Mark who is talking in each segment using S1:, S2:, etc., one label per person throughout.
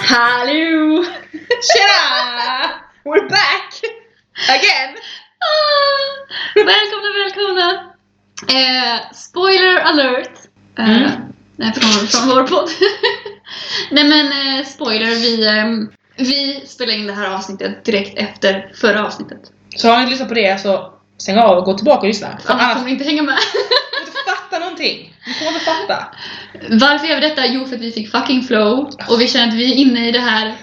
S1: Hallå!
S2: Tjena! We're back! Again!
S1: Ah, välkomna, välkomna! Eh, spoiler alert! Eh,
S2: Mm.
S1: nej, från, vår- från vår podd. nej men eh, spoiler, vi, ehm, vi spelar in det här avsnittet direkt efter förra avsnittet.
S2: Så har ni inte lyssnat på det så stäng av och gå tillbaka och lyssna. För
S1: Annars kommer
S2: annars
S1: ni inte hänga med.
S2: kommer ni inte fatta någonting. Ni kommer inte fatta.
S1: Varför gör vi detta? Jo, för att vi fick fucking flow och vi känner att vi är inne i det här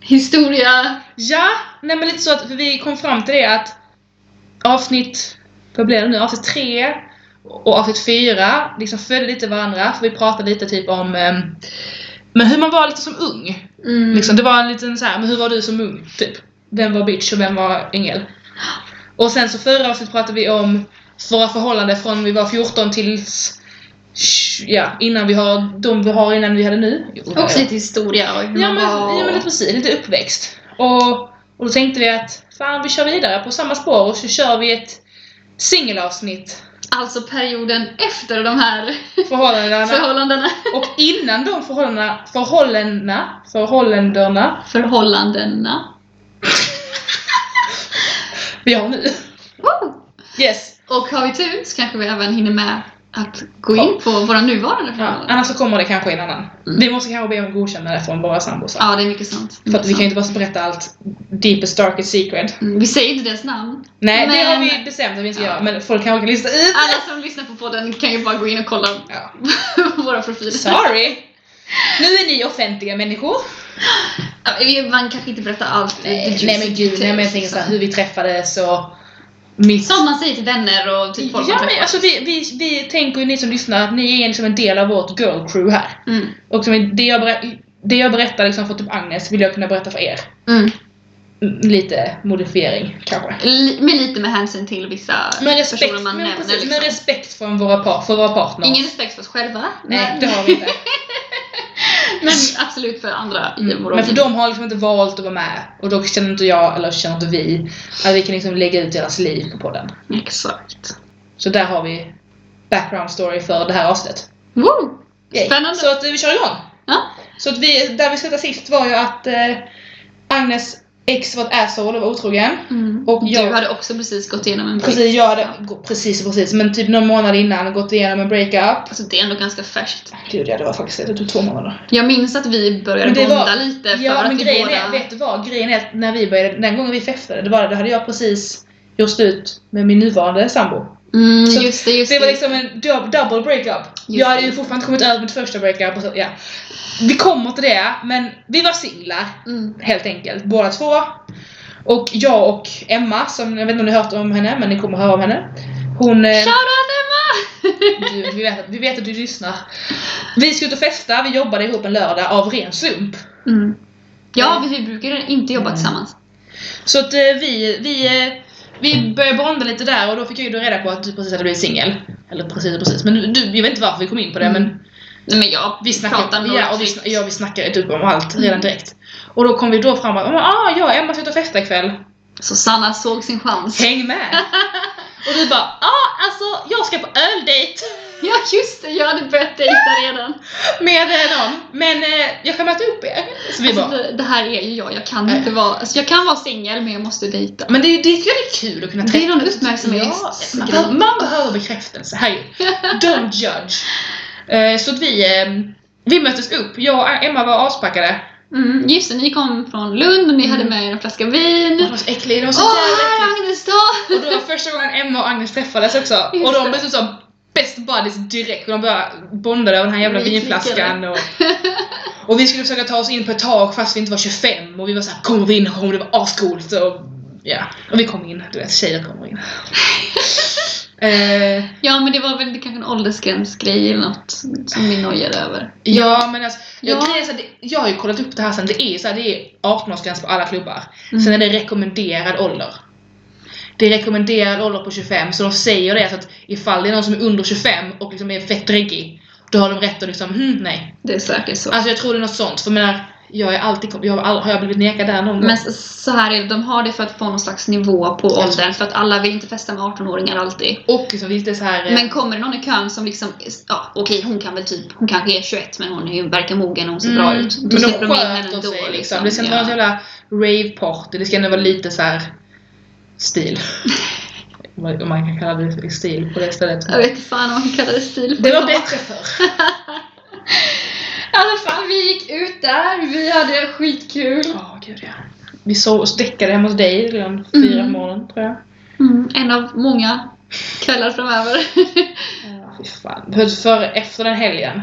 S1: historia...
S2: Ja, nej men lite så att för vi kom fram till det att avsnitt, vad blir det nu, avsnitt tre och avsnitt fyra liksom följde lite varandra. För vi pratade lite typ om ehm, men hur man var lite som ung.
S1: Mm.
S2: Liksom, det var en liten så här, men hur var du som ung? Typ. Vem var bitch och vem var ängel? Och sen så förra avsnittet pratade vi om våra förhållanden från vi var 14 tills ja, innan vi har de vi har innan vi hade nu.
S1: Också lite historia och hur
S2: ja,
S1: man
S2: men,
S1: var...
S2: ja men lite precis, lite uppväxt. Och, och då tänkte vi att fan vi kör vidare på samma spår och så kör vi ett singelavsnitt
S1: Alltså perioden efter de här
S2: förhållandena
S1: förhållandena.
S2: och innan de förhållandena, förhållandena, förhållandena
S1: Förhållandena.
S2: vi har nu.
S1: Woo!
S2: Yes!
S1: Och har vi tur så kanske vi även hinner med att gå in på våra nuvarande
S2: Ja,
S1: förhållanden.
S2: annars så kommer det kanske en annan.
S1: Mm.
S2: Vi måste kanske be om godkännande från våra sambos.
S1: Ja, det är mycket sant.
S2: För att vi kan ju inte bara berätta allt deepest darkest secret.
S1: Mm, vi säger inte deras namn.
S2: Nej, det har
S1: Men-
S2: vi bestämt att vi inte
S1: Ja.
S2: gör. Men folk kanske kan lista ut.
S1: Alla som lyssnar på podden kan ju bara gå in och kolla
S2: Ja.
S1: våra profiler.
S2: Sorry! Nu är ni offentliga människor.
S1: Ja, vi- Man kanske inte berättar allt.
S2: Nej, men gud, nej, men jag tänker såhär, hur vi träffades och mitt...
S1: liksom. Som man säger till vänner och till folk
S2: Ja,
S1: man
S2: men
S1: träffar.
S2: alltså vi, vi, vi tänker ju ni som lyssnar att ni är liksom en del av vårt girl crew här.
S1: Mm.
S2: Och som det jag, berä- det jag berättar liksom för typ Agnes vill jag kunna berätta för er.
S1: Mm.
S2: Mm, Lite modifiering kanske.
S1: Li- Men lite med hänsyn till vissa
S2: Med respekt,
S1: personer man
S2: men
S1: nämner.
S2: precis,
S1: liksom.
S2: med respekt från våra par, för våra partners.
S1: Ingen respekt för oss själva.
S2: Nej,
S1: men-
S2: det har vi inte.
S1: Men absolut för andra i vår
S2: Men för de har liksom inte valt att vara med. Och då känner inte jag, eller känner inte vi, att vi kan liksom lägga ut deras liv på podden.
S1: omgivning. Exakt.
S2: Så där har vi background story för det här avsnittet.
S1: Woo!
S2: Yay.
S1: Spännande.
S2: Så att eh, vi kör igång!
S1: Ja.
S2: Så att vi, där vi slutade sist var ju att eh, Agnes ex var ett asshole och var otrogen.
S1: Mm.
S2: Och jag-
S1: Du hade också precis gått igenom en break.
S2: Precis, jag hade, precis, precis. Men typ någon månad innan gått igenom en breakup.
S1: Alltså det är ändå ganska färskt.
S2: Gud ja, det var faktiskt det. Det tog två månader.
S1: Jag minns att vi började
S2: Men det
S1: bonda
S2: var-
S1: lite för
S2: Ja
S1: att
S2: men
S1: vi
S2: grejen
S1: båda...
S2: är, vet du vad? Grejen är att när vi började, den gången vi feftade, det var det, då hade jag precis gjort slut med min nuvarande sambo.
S1: Mm,
S2: Så
S1: just det, just
S2: Det
S1: det.
S2: var liksom en dub, double breakup. jag hade ju
S1: det.
S2: fortfarande inte kommit över mitt första breakup och så, ja. Vi kommer till det, men vi var singlar
S1: Mm.
S2: helt enkelt, båda två. Och jag och Emma, som jag vet inte om ni har hört om henne, men ni kommer höra om henne. Hon... eh,
S1: Shoutout Emma!
S2: Du, vi, vet, att- vi vet att du lyssnar. Vi skulle ut och festa, vi jobbade ihop en lördag av ren slump.
S1: Mm. Ja, vi, vi brukar inte
S2: Mm.
S1: jobba tillsammans.
S2: Så att eh, vi, vi, eh, vi började bonda lite där och då fick jag ju då reda på att du precis hade blivit singel. Eller precis och precis, men du- du, jag vet inte varför vi kom in på det
S1: Mm.
S2: men
S1: Nej men jag
S2: vi
S1: pratar
S2: snackade,
S1: nog
S2: ja, och vi,
S1: fritt.
S2: sn- ja, vi snackade typ om allt redan
S1: Mm.
S2: direkt. Och då kom vi då fram och bara, ah, jag och Emma ska ut och festa ikväll.
S1: Så Sanna såg sin chans.
S2: Häng med! och du bara, ah, alltså jag ska på öldejt
S1: Ja just det, jag hade börjat dejta redan.
S2: med eh, någon, men eh, jag kan möta upp er. Så vi
S1: Alltså,
S2: bara,
S1: det, det här är ju jag, jag kan
S2: Nej.
S1: inte vara... Alltså, jag kan vara singel men jag måste dejta.
S2: men det, är ju- det tycker jag det är kul att kunna
S1: Det är någon
S2: Ja,
S1: uppmärksamhetsgrej.
S2: man behöver- man behöver bekräftelse. Här är ju. Don't judge. Eh, Så att vi, eh, vi möttes upp. Jag och Emma var aspackade.
S1: Mm, just det, ni kom från Lund
S2: Mm.
S1: och ni hade med er en flaska vin.
S2: De var så äckliga. De var så
S1: Åh, här
S2: jävla
S1: är Agnes då!
S2: äckliga. Och det var första gången Emma och Agnes träffades också.
S1: Just
S2: Och de
S1: det.
S2: blev typ så best buddies direkt. Och de bara bondade över den här jävla
S1: Vi klickade.
S2: vinflaskan. Och, och vi skulle försöka ta oss in på ett tak fast vi inte var 25. Och vi var såhär, kommer vi in? Kommer det vara ascoolt? Och, ja. och vi kom in. Du vet, tjejer kommer in. Eh,
S1: Ja, men det var väl kanske en åldersgränsgrej eller något som vi nojade över.
S2: Ja men alltså, jag,
S1: Ja.
S2: grejen är så här, det- jag har ju kollat upp det här sen, det är ju så här, det är 18-årsgräns på alla klubbar.
S1: Mm.
S2: Sen är det rekommenderad ålder. Det är rekommenderad ålder på 25, så de säger det så att ifall det är någon som är under 25 och liksom är fett dräggig, då har de rätt att liksom, hmm, nej.
S1: Det är säkert så.
S2: Alltså jag tror det är något sånt, för jag menar, Jag är alltid, jag har, all- har jag blivit nekad där någon gång?
S1: Men så här är det, de har det för att få någon slags nivå på
S2: Ja.
S1: åldern. För att alla vill inte festa med 18-åringar alltid.
S2: Och liksom lite så här. eh,
S1: Men kommer det någon i kön som liksom, ja okej hon kan väl typ, hon kanske är 21 men hon är ju, verkar mogen och hon ser bra ut.
S2: Men Mm, de
S1: släpper
S2: sköter sig liksom. Det ska inte vara
S1: ja.
S2: någon jävla rave-party. Det ska ändå vara lite så här stil. Om man kan kalla det stil på det stället.
S1: Jag vet inte fan vad man kallar det stil
S2: Det var bättre förr.
S1: I alla fall, Alltså, vi gick ut där, vi hade skitkul.
S2: Ja, gud ja. Vi sov och däckade hemma hos dig redan fyra
S1: Mm.
S2: på morgonen tror jag.
S1: Mm, en av många kvällar framöver.
S2: Ja, fy fan. För, för efter den helgen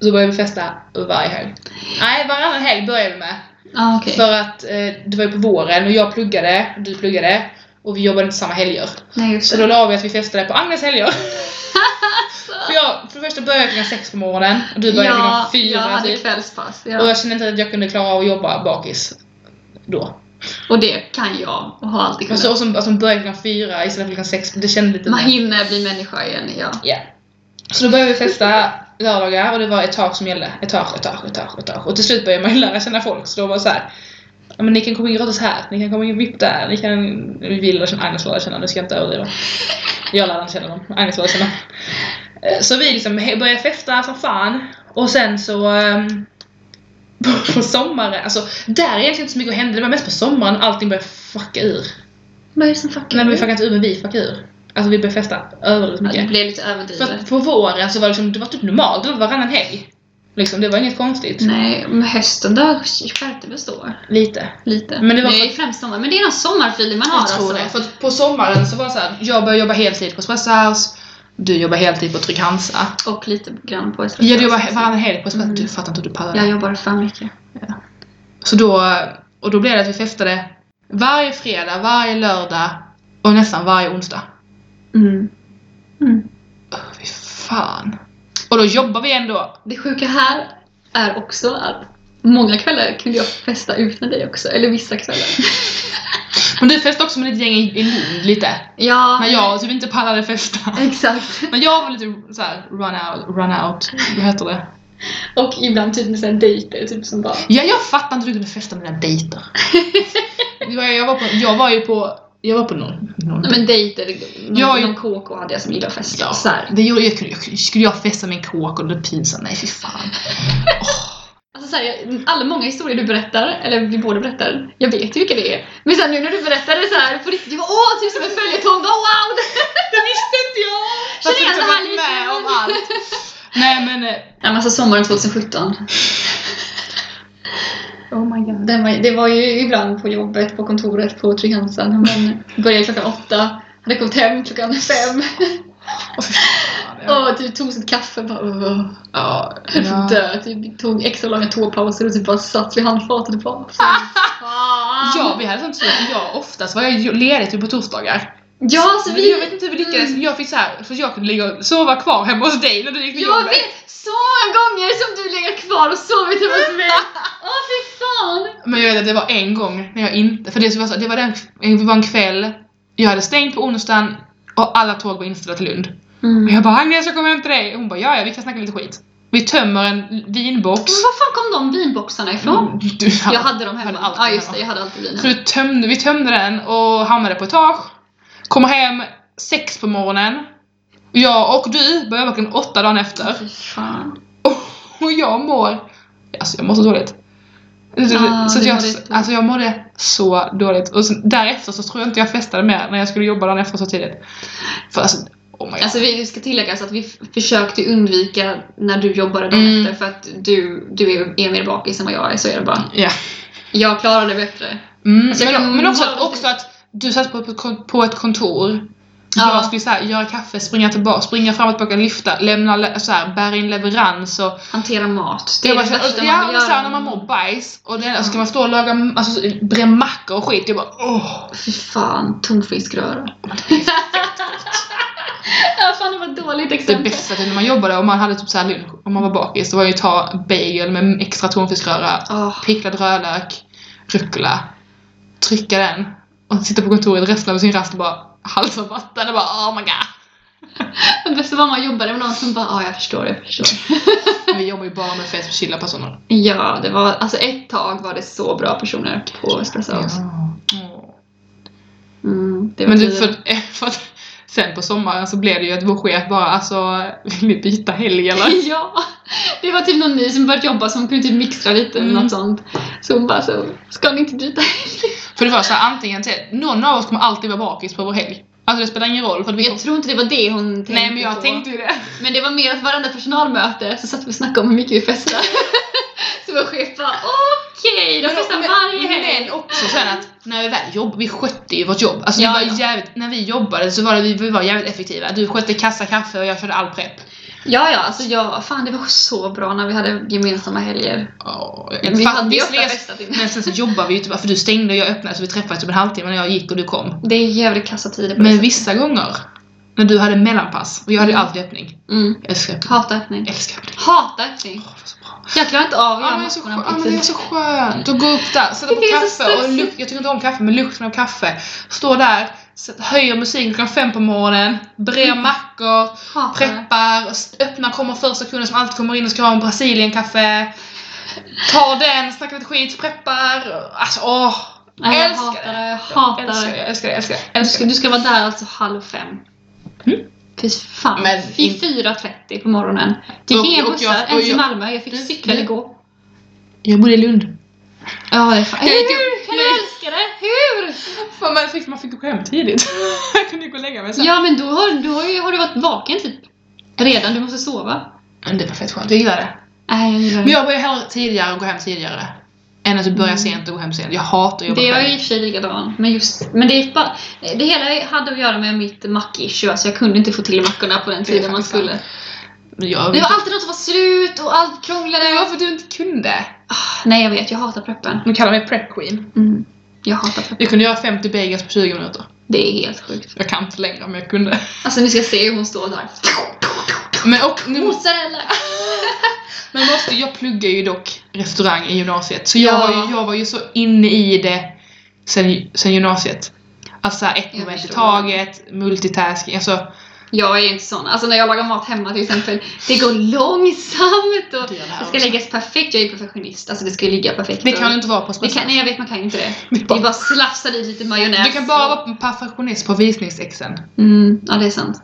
S2: så började vi festa varje helg. Nej, varannan helg började vi med.
S1: ah, okej.
S2: För att eh, det var ju på våren och jag pluggade, du pluggade och vi jobbade inte samma helger.
S1: Nej just
S2: Så då
S1: det.
S2: la vi att vi festade på Agnes helger. för, jag, för det första började jag klockan sex på morgonen och du började
S1: Ja,
S2: klockan
S1: jag
S2: fyra
S1: hade
S2: typ.
S1: kvällspass.
S2: Och
S1: Ja.
S2: jag kände inte att jag kunde klara av att jobba bakis då.
S1: Och det kan jag och har alltid
S2: Och så
S1: kunnat.
S2: och så att de började klockan fyra istället för klockan sex, det kändes lite...
S1: Man hinner bli människa igen, ja.
S2: Ja. Så då började vi festa lördagar och det var etage som gällde. Etage, etage, etage, etage. Och till slut började man ju lära känna folk så då var det så här. "Ja, Men ni kan komma in gratis här, ni kan komma in vipp där, ni kan... Vi vill lära känna, Agnes vill lära känna, nu ska jag inte överdriva. Jag lärde inte känna dem, Agnes lärde känna. Eh, Så vi liksom he- började festa som fan och sen så... ehm, på- på sommaren, alltså där är egentligen inte så mycket som hände, det var mest på sommaren allting började fucka ur.
S1: Vad är det som fuckar
S2: Nej men vi
S1: ur?
S2: fuckade inte ur men vi fuckade ur. Alltså vi började festa överdrivet
S1: Ja,
S2: mycket.
S1: Det blev lite
S2: För
S1: överdrivet.
S2: att på våren så var det, liksom, det var typ normalt, det var varannan helg. Liksom, det var inget konstigt.
S1: Nej, men hösten där skärpte vi oss då.
S2: Lite.
S1: Lite.
S2: Men det var
S1: det är
S2: för-
S1: ju främst sommar. Men det är någon sommarfeeling man har alltså.
S2: För att på sommaren så var det så här, jag började jobba heltid på Espresso House, du jobbar heltid på Tryck Hansa.
S1: Och lite grann på Espresso
S2: Jag jobbar
S1: House
S2: he- varannan helg på Espresso
S1: Mm.
S2: du fattar inte hur du pallar.
S1: Jag jobbar för mycket.
S2: Så då, och då blev det att vi festade varje fredag, varje lördag och nästan varje onsdag.
S1: Mm. Mm.
S2: Öh, Fy fan. Och då jobbar vi ändå.
S1: Det sjuka här är också att många kvällar kunde jag festa ut med dig också. Eller vissa kvällar.
S2: Men du festade också med ditt gäng i i Lund lite.
S1: ja,
S2: När jag typ inte pallade festa.
S1: exakt.
S2: Men jag var lite såhär run out, run out, vad heter det?
S1: Och ibland typ med sådana dejter. Typ som bara...
S2: Ja, jag fattar inte hur du kunde festa med dina dejter. Det var- jag, var på, jag var ju på, jag var på någon. någon.
S1: Nej, men dejter. Någon,
S2: Jag-
S1: någon KK hade jag som gillade att festa.
S2: ja,
S1: Så här.
S2: det gjorde, jag, kunde- jag, skulle jag festa med en kåk och det var pinsamt? Nej fy fan.
S1: Alltså så här, jag- alla många historier du berättar, eller vi båda berättar, jag vet ju vilka det är. Men sen nu när du berättar det så här på riktigt, jag bara åh, typ som en följetong, bara wow! Det visste inte jag!
S2: Jag
S1: Känner
S2: har
S1: igen det
S2: inte
S1: här
S2: varit med om
S1: lite!
S2: allt. Nej men, eh,
S1: Nej men alltså sommaren 2017.
S2: oh my god.
S1: Den var, det var ju ibland på jobbet, på kontoret, på Trygg-Hansa när man började klockan åtta, hade kommit hem klockan fem
S2: Åh, fy fan, ja.
S1: och typ tog sitt kaffe bara åh,
S2: Ja,
S1: ja.
S2: ja.
S1: dö. Typ, tog extra långa tåpauser och typ bara satt vid handfatet och bara fan.
S2: Ja, vi hade sånt så att jag oftast var jag ju ledig typ på torsdagar.
S1: Ja, alltså
S2: Men
S1: vi...
S2: jag vet inte hur vi lyckades,
S1: Mm.
S2: jag fick så här, för jag kunde ligga och sova kvar hemma hos dig när du gick till
S1: Jag
S2: jobbet.
S1: vet så många gånger som du legat kvar och sovit hemma hos mig! Åh fy fan!
S2: Men jag vet att det var en gång när jag inte, för det var, så, det var, den, det var en kväll, jag hade stängt på onsdagen och alla tåg var inställda till Lund. Och jag bara Agnes jag kommer hem till dig! Och hon bara ja, ja vi kan snacka lite skit. Vi tömmer en vinbox.
S1: Men var fan kom de vinboxarna ifrån?
S2: Du,
S1: Jag hade dem hemma.
S2: hade
S1: Ja
S2: allt
S1: ah, just
S2: hemma.
S1: det, jag hade alltid vin
S2: Så vi tömde, vi tömde den och hamnade på etage. Kom hem sex på morgonen. Och Jag och du började jobba klockan åtta dagen efter.
S1: Fy fan.
S2: Och jag mår... Alltså jag mår så dåligt.
S1: Ja,
S2: så att
S1: det
S2: jag,
S1: var det.
S2: alltså jag mådde så dåligt. Och sen, därefter så tror jag inte jag festade mer när jag skulle jobba dagen efter så tidigt. För alltså, oh my god.
S1: Alltså vi ska tillägga så att vi f- försökte undvika när du jobbade dagen
S2: Mm.
S1: efter för att du, du är, är mer bakis än vad jag är, så är det bara.
S2: Ja.
S1: Jag klarade det bättre.
S2: Mm,
S1: Alltså, jag
S2: men
S1: kan
S2: men också,
S1: vara
S2: att,
S1: lite-
S2: också att du satt på, på, kon- på ett kontor.
S1: Ja.
S2: Jag skulle så här, göra kaffe, springa tillbaka, springa fram och tillbaka, lyfta, lämna, le- så här, bära in leverans och...
S1: Hantera mat. Det
S2: Jag
S1: är det
S2: bara, känner,
S1: värsta
S2: ja,
S1: man
S2: men
S1: vill
S2: så här,
S1: göra.
S2: när man mår bajs och den, alltså, ska man stå och laga alltså, bre mackor och skit. Jag bara åh!
S1: Fy fan, tonfiskröra. ja, fan det var ett dåligt
S2: Det
S1: exempel.
S2: bästa till när man jobbade och man hade typ såhär lunch, om man var bakis, då var ju att ta bagel med extra tonfiskröra,
S1: Åh.
S2: picklad rödlök, rucola, trycka den och sitta på kontoret resten av sin rast och bara halsa vatten och bara oh my god.
S1: Det bästa var om man jobbade med någon som bara ja, jag förstår, jag förstår.
S2: Vi jobbar ju bara med fett chilla personer.
S1: Ja, det var alltså ett tag var det så bra personer på Espresso House. Mm, det var
S2: Men du,
S1: tiden.
S2: för, för att, sen på sommaren så blev det ju att vår chef bara alltså, vill ni byta helg eller?
S1: Ja! Det var typ någon ny som börjat jobba som kunde typ mixtra lite eller
S2: Mm.
S1: något sånt. Så hon bara så, ska ni inte byta helg?
S2: För det första, antingen till, någon av oss kommer alltid vara bakis på vår helg. Alltså det spelar ingen roll för att vi
S1: Jag tror inte det var det hon tänkte
S2: Nej men jag
S1: på.
S2: tänkte ju det.
S1: Men det var mer att varenda personalmöte så satt vi och snackade om hur mycket vi festade. så vår chef bara okej, de festar varje helg.
S2: Men också sen att när vi väl jobbade, vi skötte ju vårt jobb. Alltså
S1: Ja,
S2: vi var
S1: ja.
S2: jävligt, när vi jobbade så var det, vi, vi var jävligt effektiva. Du skötte kassa kaffe och jag körde all prepp.
S1: Ja, ja, alltså jag, fan det var så bra när vi hade gemensamma helger.
S2: Oh,
S1: Vi hade ju ofta
S2: visserligen-
S1: festat innan.
S2: Men sen så jobbar vi ju typ, för du stängde och jag öppnade så vi träffades typ en halvtimme när jag gick och du kom.
S1: Det är jävligt kassa tider på det
S2: Men
S1: sättet.
S2: vissa gånger, när du hade mellanpass, och jag hade ju alltid öppning.
S1: Mm.
S2: Jag älskar öppning.
S1: Hata öppning.
S2: Jag älskar öppning.
S1: Hata öppning.
S2: Åh, vad så bra.
S1: Jag klarar inte av att
S2: Ja,
S1: göra
S2: men det är så
S1: matcherna
S2: skönt.
S1: på
S2: Ja, men det är
S1: tid.
S2: så skönt att gå upp där, sätta på
S1: Det är så
S2: kaffe och
S1: stressigt.
S2: luk- Jag tycker inte om kaffe, men lukten av kaffe. Stå där, sätt- höjer musiken klockan fem på morgonen, brer
S1: Mm.
S2: mackor,
S1: Hatar det.
S2: preppar, s- öppnar, kommer första kunden som alltid kommer in och ska ha en brasilienkaffe. Tar den, snackar lite skit, preppar. Alltså åh!
S1: Nej, jag
S2: älskar
S1: hatar det.
S2: det.
S1: Jag hatar
S2: Älskar
S1: det.
S2: det, älskar det, älskar det.
S1: Du ska,
S2: Älskar det.
S1: du ska vara där alltså halv fem.
S2: Mm.
S1: Fy fan.
S2: Men
S1: Fy
S2: in-
S1: 4.30 på morgonen. Det
S2: Och-
S1: gick inga
S2: och jag-
S1: bussar
S2: och
S1: ens i
S2: jag-
S1: Malmö. Jag Mm. fick cykla eller gå.
S2: Jag bodde i Lund.
S1: Ja, det är fan.
S2: Jag gick
S1: Hur
S2: upp-
S1: kan typ-
S2: jag
S1: du
S2: gick-
S1: älska det? Hur?
S2: Fan, man, fick, man fick gå hem tidigt. jag kunde ju gå och lägga mig sen.
S1: Ja, men då har, då har, ju- har du varit vaken typ. Redan. Du måste sova.
S2: Men det var fett skönt, jag gillar det.
S1: Nej, jag gillar
S2: Men
S1: det.
S2: jag börjar hellre tidigare och gå hem tidigare. Än att du börjar
S1: Mm.
S2: sent och gå hem sent. Jag hatar att jobba
S1: Det var
S2: själv.
S1: ju i och för sig likadan. Men, just, men det, är bara, det hela hade att göra med mitt mack-issue. Alltså jag kunde inte få till mackorna på den
S2: Det är
S1: tiden man
S2: faktiskt
S1: skulle.
S2: sant. Men jag...
S1: Det var alltid något som var slut och allt krånglade.
S2: Nej, varför du inte kunde?
S1: Ah, Nej, jag vet. Jag hatar preppen.
S2: De kallar mig prep queen.
S1: Mm. Jag hatar preppen.
S2: Jag kunde göra 50 bagels på 20 minuter.
S1: Det är helt sjukt.
S2: Jag kan inte längre men jag kunde.
S1: Alltså ni ska se hur hon står där.
S2: Men, och, nu,
S1: Mozzarella!
S2: men måste, jag pluggar ju dock restaurang i gymnasiet. Så jag,
S1: Ja.
S2: var, ju, jag var ju så inne i det sen, sen gymnasiet. Alltså så här, ett
S1: Jag
S2: moment i
S1: förstår.
S2: taget, multitasking. Alltså,
S1: Jag är inte sån. Alltså när jag lagar mat hemma till exempel, det går långsamt och
S2: Det gör det här
S1: det ska
S2: också.
S1: läggas perfekt. Jag är perfektionist, alltså det ska ju ligga perfekt.
S2: det kan
S1: och,
S2: inte vara på
S1: det
S2: espresso.
S1: kan, Nej jag vet, man kan inte det.
S2: Det är
S1: Det
S2: bara-
S1: är bara att slafsa dit lite majonnäs.
S2: Du kan bara
S1: och-
S2: vara perfektionist på visningsexen.
S1: Mm, ja det är sant.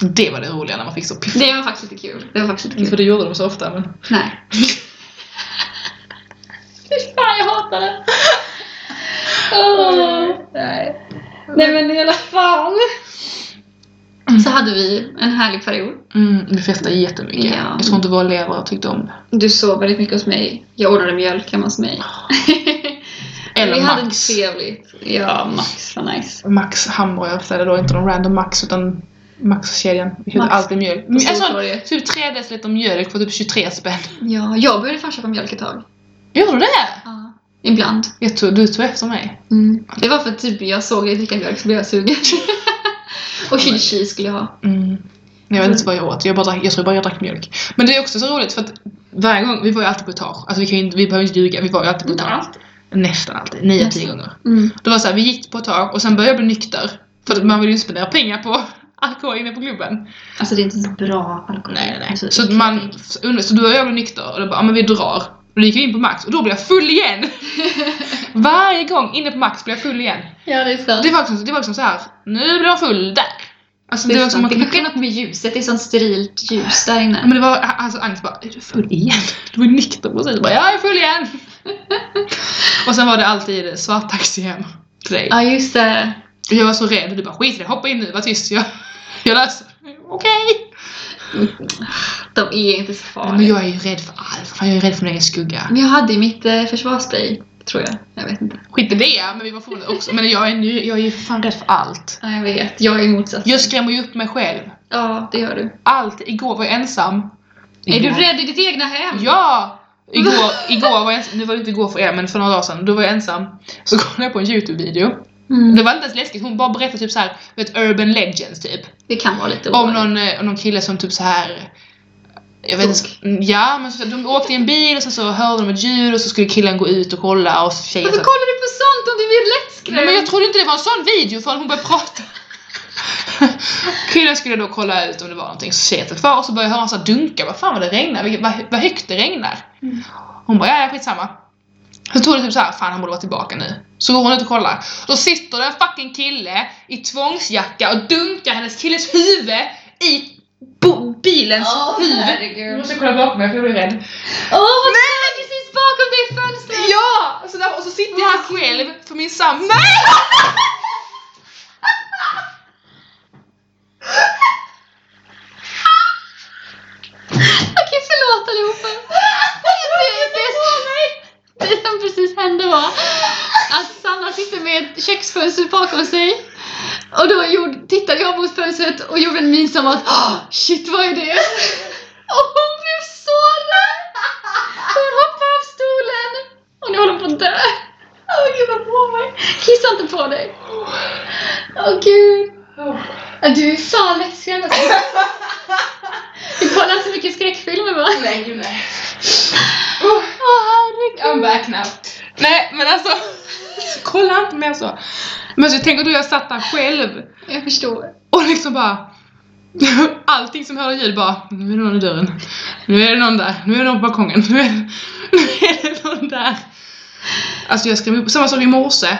S2: Det var det roliga när man fick så piff.
S1: Det var faktiskt lite kul. Det var faktiskt lite kul.
S2: För det gjorde de så ofta men...
S1: Nej. Fy fan jag hatar det! Åh.
S2: Nej.
S1: Nej men i alla fall. Så hade vi en härlig period.
S2: Mm, vi festade jättemycket.
S1: Ja.
S2: Jag tror inte våra elever tyckte om det.
S1: Du sov väldigt mycket hos mig. Jag ordnade mjölk hemma hos mig.
S2: Eller
S1: vi
S2: Max.
S1: hade trevligt. Ja, Max var nice.
S2: Max hamburgare beställde då, inte någon random Max utan Max-kedjan. Vi köpte
S1: Max.
S2: alltid mjölk.
S1: På
S2: En sån,
S1: Stortorget.
S2: typ 3 deciliter mjölk för typ 23 spänn.
S1: Ja, jag började fan köpa mjölk ett tag.
S2: Gjorde du det?
S1: Ja. Ibland.
S2: Jag tog, du tog efter mig.
S1: Mm. Det var för att typ jag såg dig dricka mjölk så blev jag sugen. och chili cheese skulle jag ha.
S2: Mm. Jag vet inte vad jag åt, jag, bara drack, jag tror bara jag drack mjölk. Men det är också så roligt för att varje gång, vi var ju alltid på etage. Alltså vi, kan ju, inte- vi behöver inte ljuga, vi var ju alltid på etage. Nästan alltid, 9-10
S1: Nästan.
S2: gånger.
S1: Mm.
S2: Det var så här, vi gick på ett tag och sen började jag bli nykter. För att man vill ju inte spendera pengar på alkohol inne på klubben.
S1: Alltså det är inte så bra alkohol. Alltså,
S2: Så, att
S1: äckligt.
S2: man, så då är jag blev nykter och då bara, ja, men vi drar. Och då gick vi in på Max och då blev jag full igen! Varje gång inne på Max blev jag full igen.
S1: Ja, det är sant.
S2: Det var liksom, det var liksom så här, nu blir jag full där! Alltså det,
S1: Det,
S2: var
S1: är
S2: liksom,
S1: sant.
S2: man,
S1: det kanske är något med ljuset. Det är sånt sterilt ljus där inne.
S2: men det var alltså Agnes bara, är du full igen? Du var ju nykter precis, bara, ja jag är full igen! och sen var det alltid svarttaxi hem till dig.
S1: Ja, just det.
S2: Och jag var så rädd och du bara skit i det, hoppa in nu, var tyst, jag, jag löser det." Okej!
S1: De är inte så
S2: Nej,
S1: farliga.
S2: Men jag är ju rädd för allt, Fan, jag är rädd för min egen skugga.
S1: Men jag hade ju mitt eh, försvarsspray, tror jag. Jag vet inte.
S2: Skit i det, men vi var fortfarande också, men jag är, nu, jag är ju för fan rädd för allt.
S1: Ja, jag vet. Jag är motsatt.
S2: Jag skrämmer ju upp mig själv.
S1: Ja, det gör du.
S2: Allt, igår var jag ensam.
S1: Är du
S2: Igår-
S1: rädd i ditt egna hem?
S2: Ja! Igår, igår var jag ensam, nu var det inte igår för er men för några dagar sedan, då var jag ensam. Så kollade jag på en YouTube-video.
S1: Mm.
S2: Det var inte ens läskigt, hon bara berättade typ så här, vet urban legends typ.
S1: Det kan vara lite
S2: Om
S1: obehagligt.
S2: någon, eh, om någon kille som typ så här. Jag vet inte, mm, ja men så, de åkte i en bil och sen så hörde de ett ljud och så skulle killen gå ut och kolla och så tjejen
S1: Varför
S2: så,
S1: kollar du på sånt om du blir lättskrämd?
S2: Nej men jag trodde inte det var en sån video förrän hon började prata. Killen skulle då kolla ut om det var någonting setet kvar och så började jag höra en sån här dunka. Vad fan vad det regnar, vilket- vad, vad högt det regnar.
S1: Mm.
S2: Hon bara, ja ja skitsamma. Så tog det typ så här, fan han borde vara tillbaka nu. Så går hon ut och kollar. Då sitter det en fucking kille i tvångsjacka och dunkar hennes killes huvud i bo- bilens
S1: Åh
S2: huvud.
S1: herregud.
S2: kolla bakom mig för jag blir rädd.
S1: Åh vad Nej! precis bakom dig i fönstret!
S2: Ja! Så där, och så sitter jag här själv för min sambo. Nej!
S1: Okej förlåt allihopa. Det, det, det som precis hände var att Sanna sitter med ett köksfönster bakom sig. Och då gjorde, tittade jag mot fönstret och gjorde en min som att "Ah, shit vad är det? Och hon blev så rädd! Hon hoppade av stolen och nu håller hon på att dö. Åh gud vad på mig. Kissa inte på dig. Åh gud. Ja, Du är fan läskig alltså. Du kollar inte så mycket skräckfilmer va?
S2: Nej, gud nej.
S1: Åh herregud.
S2: I'm back now. Nej, men alltså. Kolla inte mer så. Men så tänker du, jag satt där själv
S1: Jag förstår.
S2: och liksom bara. Allting som hörde ljud bara, nu är det någon i dörren. Nu är det någon där. Nu är det någon på balkongen. Nu är det, nu är det någon där. Alltså jag skrev upp. Samma sak i morse.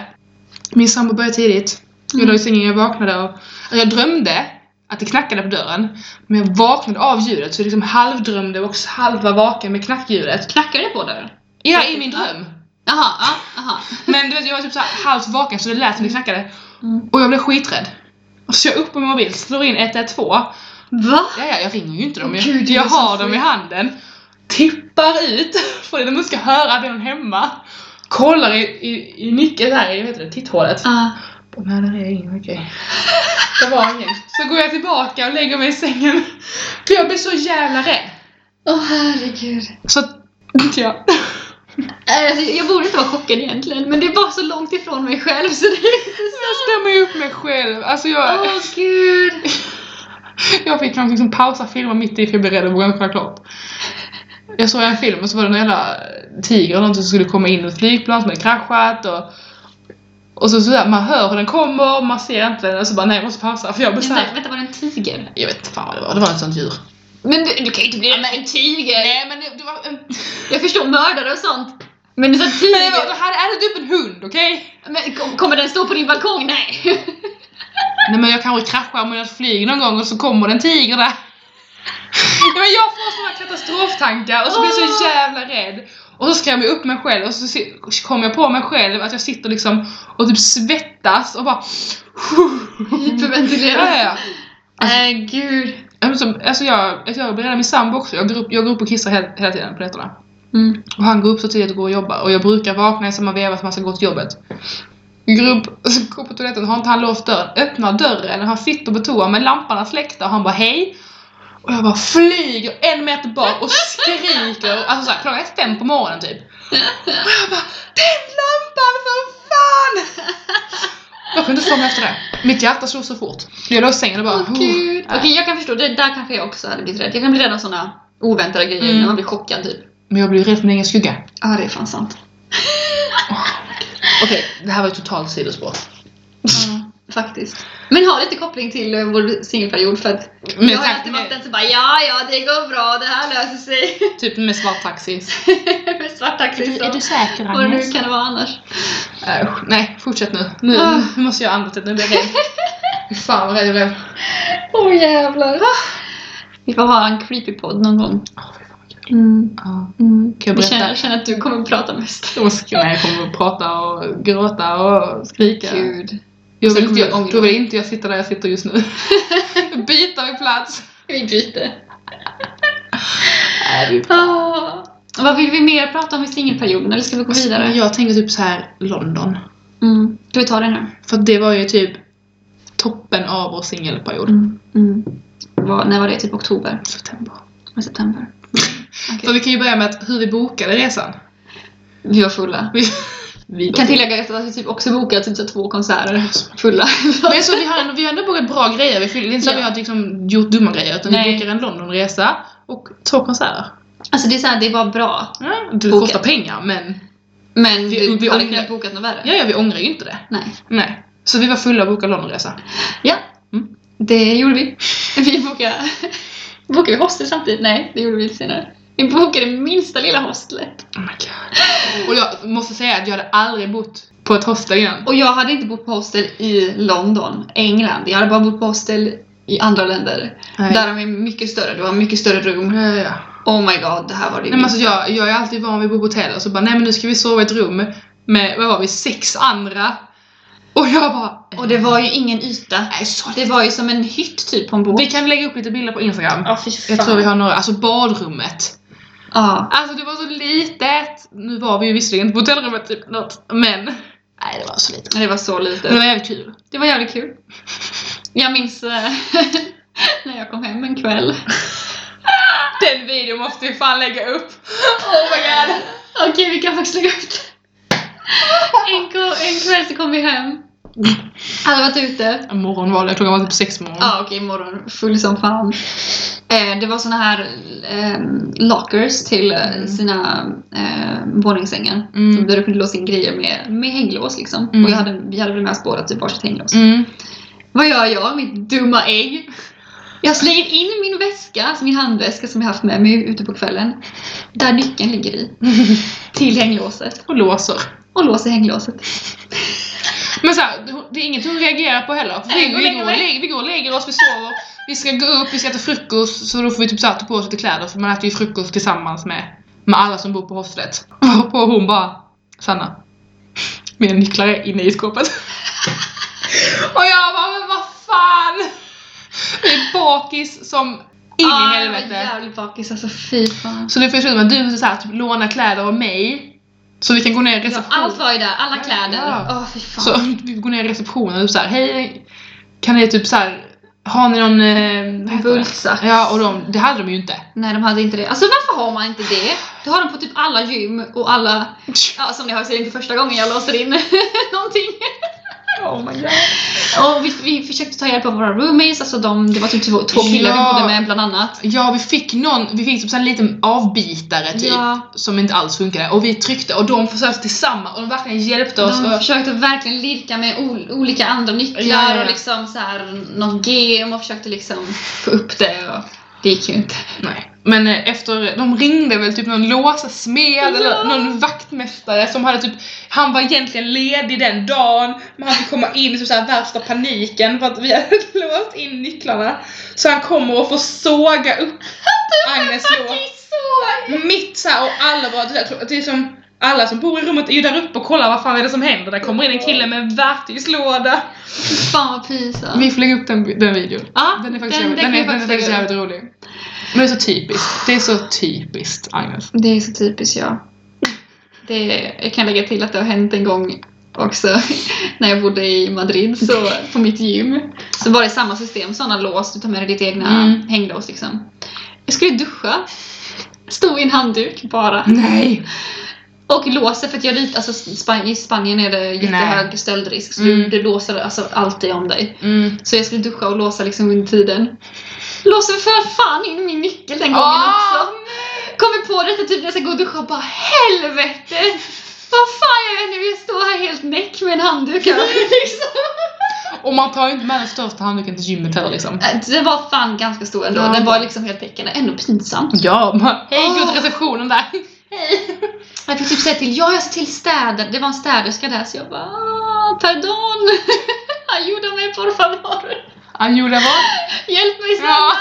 S2: Min sambo började tidigt. Jag låg i sängen jag vaknade av. Alltså jag drömde att det knackade på dörren. Men jag vaknade av ljudet så jag liksom halvdrömde och också halva vaken med knackljudet.
S1: Knackade det på dörren?
S2: Ja, i min dröm.
S1: Jaha, ja, aha.
S2: Men du vet, jag var typ så här halvt vaken så det lät som det knackade.
S1: Mm.
S2: Och jag blev skiträdd. Och så jag upp på min mobil, slår in 112.
S1: Va?
S2: Ja, ja, jag ringer ju inte dem. Jag,
S1: Gud, du
S2: jag
S1: är så
S2: har dem i
S1: freak.
S2: handen. Tippar ut, för de ska höra att det är någon hemma. Kollar i, i, i nyckeln där, i vad heter det, titthålet.
S1: Ah.
S2: Och, Nej, det är ingen, okej. Det var ingen. Så går jag tillbaka och lägger mig i sängen. För jag blir så jävla rädd.
S1: Åh herregud.
S2: Så att, ja.
S1: Äh, Alltså, jag borde inte vara chockad egentligen, men det var så långt ifrån mig själv så det är inte så...
S2: Jag stämmer ju upp mig själv. Alltså jag...
S1: Åh gud.
S2: Jag fick kanske liksom pausa filmen mitt i för jag blev rädd och vågade inte kolla klart. Jag såg en film och så var det någon jävla tiger eller någonting som skulle komma in i ett flygplan som hade kraschat och och så sådär, man hör hur den kommer, man ser inte den och så bara nej jag måste pausa för jag blir
S1: Vänta,
S2: såhär
S1: vänta, var det en tiger?
S2: Jag vet inte fan vad det var, det var ett sånt djur.
S1: Men du, du kan ju inte bli rädd för en tiger.
S2: Nej men det, det var en...
S1: Jag förstår mördare och sånt. Men det är så
S2: Men det var,
S1: tiger.
S2: du hade ätit upp en hund, okej?
S1: Men kom- kommer den stå på din balkong? Nej.
S2: Nej men jag kanske kraschar med ett flyg någon gång och så kommer det en tiger där. Nej, men jag får såna katastroftankar och så blir jag så jävla rädd. Och så skrämmer jag upp mig själv och så se- kommer jag på mig själv att jag sitter liksom och typ svettas och bara... Ja,
S1: Hyperventilera.
S2: ja, ja.
S1: Nej, Äh, gud.
S2: Ja, men så- Alltså jag, alltså jag blir rädd av min sambo också. Jag går upp, jag går upp och kissar hela, hela tiden på nätterna.
S1: Mm.
S2: Och han går upp så tidigt och går och jobbar. Och jag brukar vakna i samma veva som han ska gå till jobbet. Jag går upp, och så går jag på toaletten, har inte han låst dörren? Öppnar dörren och han sitter på toa med lamporna släckta och han bara hej. Och jag bara flyger en meter bak och skriker. Alltså såhär, klockan är fem på morgonen typ. Och jag bara tänd lampan för fan! Jag kunde inte få mig efter det. Mitt hjärta slog så fort. Jag låg i sängen och bara...
S1: Åh gud.
S2: "Oh."
S1: Okej, jag kan förstå. Det där kanske jag också hade blivit rädd. Jag kan bli rädd av såna oväntade grejer
S2: Mm.
S1: när man blir chockad typ.
S2: Men jag blev rädd för min egen skugga.
S1: Ja, det är fan sant.
S2: Okej, det här var ju totalt sidospår.
S1: Faktiskt. Mm. Men har lite koppling till eh, vår singelperiod för att
S2: Men
S1: jag har
S2: tack,
S1: alltid
S2: men-
S1: varit den som bara ja, ja, det går bra, det här löser sig.
S2: Typ med svart taxis.
S1: Med svarttaxi så.
S2: säker
S1: Vad det nu kan det vara annars.
S2: Äh, Usch, nej, fortsätt nu. Nu,
S1: Ah.
S2: nu måste jag andas lite, nu blir jag rädd. Fy fan vad rädd jag blev.
S1: Åh oh, jävlar. Vi får ha en creepy-podd någon gång. Mm.
S2: Ja.
S1: Mm.
S2: Kan jag
S1: Jag
S2: berätta?
S1: känner, jag känner att du kommer att prata mest.
S2: Jag måste- nej, jag kommer att prata och gråta och skrika.
S1: Gud.
S2: Jag vill,
S1: Sen
S2: inte,
S1: kommer jag
S2: jag,
S1: ångra
S2: då vill inte jag sitta där jag sitter just nu. Byta vi plats.
S1: Vi byter. Ah. Vad vill vi mer prata om i singelperioden eller ska vi gå vidare?
S2: Jag tänker typ så här London.
S1: Mm. Ska vi ta det nu?
S2: För att det var ju typ toppen av vår singelperiod.
S1: Mm. Mm. Vad- när var det? Typ oktober?
S2: September.
S1: Eller september? Okej.
S2: För vi kan ju börja med att hur vi bokade resan.
S1: Vi var fulla.
S2: Vi, vi
S1: Kan tillägga att vi typ också bokat typ så två konserter fulla.
S2: Men så vi har ändå, vi har ändå bokat bra grejer. Vi fyller- Det är inte så att
S1: Ja.
S2: vi har liksom gjort dumma grejer. Utan vi
S1: Nej.
S2: bokar en Londonresa och två konserter.
S1: Alltså det är såhär, det var bra.
S2: Ja, det
S1: Bokat.
S2: kostar pengar men
S1: Men
S2: Vi-
S1: vi,
S2: vi
S1: du hade
S2: ångrar-
S1: kunnat bokat något värre.
S2: ja, ja, vi ångrar ju inte det.
S1: Nej.
S2: Nej. Så vi var fulla och bokade Londonresa.
S1: Ja.
S2: Mm.
S1: Det gjorde vi. Vi bokade... Bokade vi hostel samtidigt? Nej, det gjorde vi lite senare. Vi bokade minsta lilla hostlet.
S2: Oh my god. Och jag måste säga att jag hade aldrig bott på ett hostel igen.
S1: Och jag hade inte bott på hostel i London, England. Jag hade bara bott på hostel i andra länder.
S2: Nej.
S1: Där de är mycket större. Det var mycket större rum.
S2: Ja, ja, ja.
S1: Oh my god, det här var det
S2: Nej, men alltså, jag, jag är alltid van vid att bo på hotell och så bara nej men nu ska vi sova i ett rum med, vad var vi, sex andra. Och jag bara
S1: Och det var ju ingen yta.
S2: nej så
S1: Det var ju som en hytt typ på en båt.
S2: Vi kan lägga upp lite bilder på Instagram.
S1: Ja, fy
S2: Jag tror vi har några, alltså badrummet.
S1: Ja.
S2: Alltså det var så litet. Nu var vi ju visserligen inte på hotellrummet typ något, men. Nej det var så litet.
S1: Men Det var så lite.
S2: Det var jävligt kul.
S1: Det var jävligt kul. Jag minns eh, när jag kom hem en kväll.
S2: Den videon måste vi fan lägga upp. Oh my god.
S1: Okej, vi kan faktiskt lägga upp det. En, ko- en kväll så kom vi hem. Hade varit ute.
S2: Morgon var det, jag tror jag var typ sex på morgonen.
S1: Ja, och imorgon full som fan. Eh, det var såna här eh, lockers till eh,
S2: Mm.
S1: sina eh, våningssängar.
S2: Mm.
S1: Där du kunde låsa in grejer med, med hänglås liksom.
S2: Mm.
S1: Och jag hade, vi hade väl med oss båda typ varsitt hänglås.
S2: Mm.
S1: Vad gör jag? Mitt dumma ägg. Jag slänger in min väska, alltså min handväska som jag haft med mig ute på kvällen. Där nyckeln ligger i. Till hänglåset.
S2: Och låser.
S1: Och låser hänglåset.
S2: Men så här, det är inget hon reagerar på heller. För
S1: Nej,
S2: vi,
S1: gå och
S2: vi,
S1: lägg
S2: går,
S1: mig.
S2: lägg, vi går och lägger oss, vi sover. Vi ska gå upp, vi ska äta frukost. Så då får vi typ så här, ta på oss lite kläder. För man äter ju frukost tillsammans med, med alla som bor på hostlet. Och hon bara, Sanna. Mina nycklar är inne i skåpet. och jag bara, men vad fan. Vi är bakis som in
S1: Ah,
S2: i
S1: Jag var
S2: helvete.
S1: jävligt bakis alltså, fy fan.
S2: Så nu får jag sluta med att du måste så här, typ, låna kläder av mig. Så vi kan gå ner i
S1: Ja, alltså,
S2: receptionen.
S1: allt var ju där, alla kläder.
S2: Ja.
S1: Åh fy fan.
S2: Så vi går ner i receptionen och typ såhär, hej, kan ni typ såhär, har ni någon... Eh, vad heter det?
S1: Bultsax.
S2: Ja, och de, det hade de ju inte.
S1: Nej de hade inte det. Alltså varför har man inte det? Det har de på typ alla gym och alla... Ja som ni hör så är det inte första gången jag låser in någonting.
S2: Oh my god.
S1: Och vi, vi försökte ta hjälp av våra roomies, alltså de, det var typ två, två killar
S2: Ja.
S1: vi bodde med bland annat.
S2: Ja, vi fick någon, vi fick typ så här en liten avbitare typ,
S1: Ja.
S2: som inte alls funkade. Och vi tryckte och de försökte tillsammans och de verkligen hjälpte oss.
S1: De
S2: och,
S1: försökte verkligen lirka med ol olika andra nycklar
S2: Ja, ja, ja.
S1: och liksom så här, något game och försökte liksom få upp det. Och det gick ju inte.
S2: nej. Men eh, efter, de ringde väl typ någon låsasmed eller
S1: Ja.
S2: någon vaktmästare som hade typ, han var egentligen ledig den dagen men han fick komma in i typ så här värsta paniken för att vi hade låst in nycklarna. Så han kommer och får såga upp Agnes lås. Mitt så här och alla bara, det är- det är som alla som bor i rummet är ju där uppe och kollar vad fan är det som händer. Där kommer in en kille med en verktygslåda.
S1: Fan vad pinsamt.
S2: Vi får lägga upp den, den videon.
S1: Ja,
S2: Den är faktiskt,
S1: den-
S2: jävligt,
S1: den kan
S2: den är,
S1: vi
S2: den är
S1: faktiskt
S2: faktiskt
S1: lägga
S2: jävligt rolig. Men det är så typiskt. Det är så typiskt Agnes.
S1: Det är så typiskt jag. Det, jag kan lägga till att det har hänt en gång också när jag bodde i Madrid så, på mitt gym. Så var det samma system, sådana lås, du tar med dig ditt egna
S2: Mm.
S1: hänglås liksom. Jag skulle duscha, stod i en handduk bara
S2: Nej!
S1: och låser för att jag rit, alltså Span- i Spanien är det jättehög stöldrisk så du,
S2: Mm.
S1: du låser alltså alltid om dig.
S2: Mm.
S1: Så jag skulle duscha och låsa liksom under tiden. Låser för fan in min nyckel den gången
S2: Ah!
S1: också. Kommer på detta typ när jag ska gå och duscha och bara helvete! Vad fan gör jag nu? Jag står här helt näck med en handduk över, liksom.
S2: Och man tar ju inte med den största handduken till gymmet heller liksom.
S1: Äh, Den var fan ganska stor ändå.
S2: Ja.
S1: Den var liksom heltäckande. Ändå pinsamt.
S2: Ja, Ah! man, hej gå
S1: Åh.
S2: till receptionen där.
S1: Jag fick typ säga till, ja jag ser till städen. Det var en städerska där så jag bara "Ah, pardon! Ayuda mig por favor!
S2: Ayuda vad?
S1: Hjälp mig snälla!
S2: Ja,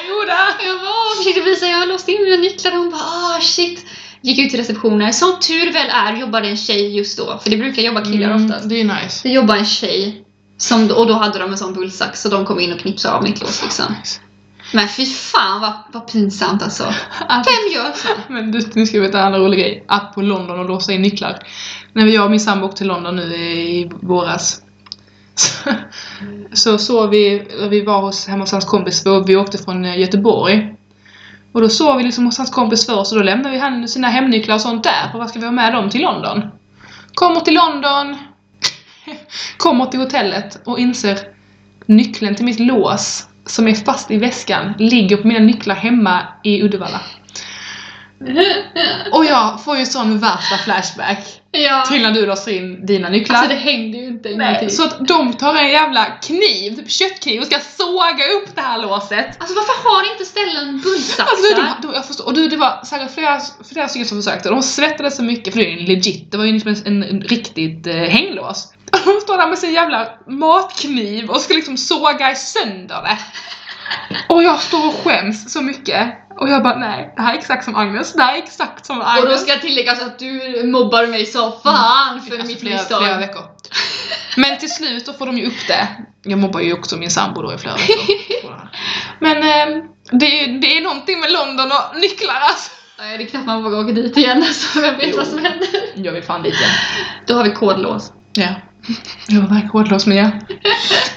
S2: ayuda!
S1: Jag bara, "Åh", försökte visa, jag har låst in mina nycklar och hon bara ah shit. Gick ut till receptionen. Som tur väl är jobbade en tjej just då. För det brukar jobba killar oftast.
S2: det är nice.
S1: Det jobbade en tjej som, och då hade de en sån bullsax så de kom in och knipsade av mitt lås liksom. Men fy fan vad, vad pinsamt alltså.
S2: Alltså,
S1: Vem gör så?
S2: Men du, nu ska vi veta en annan rolig grej. App på London och låsa in nycklar. När jag och min sambo åkte till London nu i våras. Så, så såg vi, vi var hos, hemma hos hans kompis, för vi åkte från eh, Göteborg. Och då sov vi liksom hos hans kompis först och då lämnade vi han sina hemnycklar och sånt där. Och vad ska vi ha med dem till London? Kommer till London. Kommer till hotellet och inser nyckeln till mitt lås som är fast i väskan ligger på mina nycklar hemma i Uddevalla. Och jag får ju sån värsta flashback
S1: Ja.
S2: till när du låser in dina nycklar.
S1: Alltså det hängde ju inte ingenting.
S2: så att de tar en jävla kniv, typ köttkniv, och ska såga upp det här låset.
S1: Alltså varför har inte ställen bultsaxar?
S2: Alltså, de, de, jag förstår. Och du, det var säkert flera, flera stycken som försökte. De svettades så mycket för det är ju en legit, det var ju liksom en, en, en riktigt eh, hänglås. Och de står där med sin jävla matkniv och ska liksom såga sönder det. Och jag står och skäms så mycket. Och jag bara nej, det här är exakt som Agnes, det här är exakt som Agnes.
S1: och då ska jag tillägga att du mobbar mig så fan för
S2: Alltså,
S1: mitt
S2: flera,
S1: misstag.
S2: flera veckor. Men till slut då får de ju upp det. Jag mobbar ju också min sambo då i flera veckor. Men eh, det, är, ju- det är någonting med London och nycklar alltså.
S1: Nej, det är knappt man vågar åka dit igen alltså. Vem vet
S2: Jo.
S1: vad som händer?
S2: Jag vill fan dit igen.
S1: Då har vi kodlås.
S2: Ja. Jag var verkligen kodlås med ja.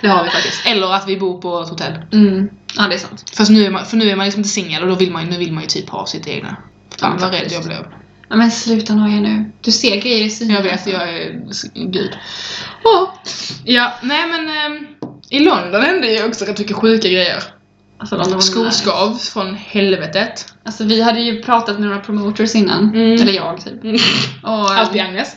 S2: Det har vi faktiskt. Eller att vi bor på ett hotell.
S1: Mm. Ja, det är sant.
S2: Fast nu är man, för nu är man liksom inte singel och då vill man, ju- nu vill man ju typ ha sitt egna.
S1: Ja,
S2: Fan vad rädd
S1: faktiskt.
S2: jag blev.
S1: Ja, men sluta noja nu. Du ser grejer i synen.
S2: Jag vet,
S1: alltså.
S2: jag är s- gud. Ja. Ja, nej men ehm, i London hände ju också rätt mycket sjuka grejer.
S1: Alltså, de var
S2: Skoskav från helvetet.
S1: nice. Alltså vi hade ju pratat med några promoters innan.
S2: Mm.
S1: Eller jag typ. Och,
S2: Allt i Agnes.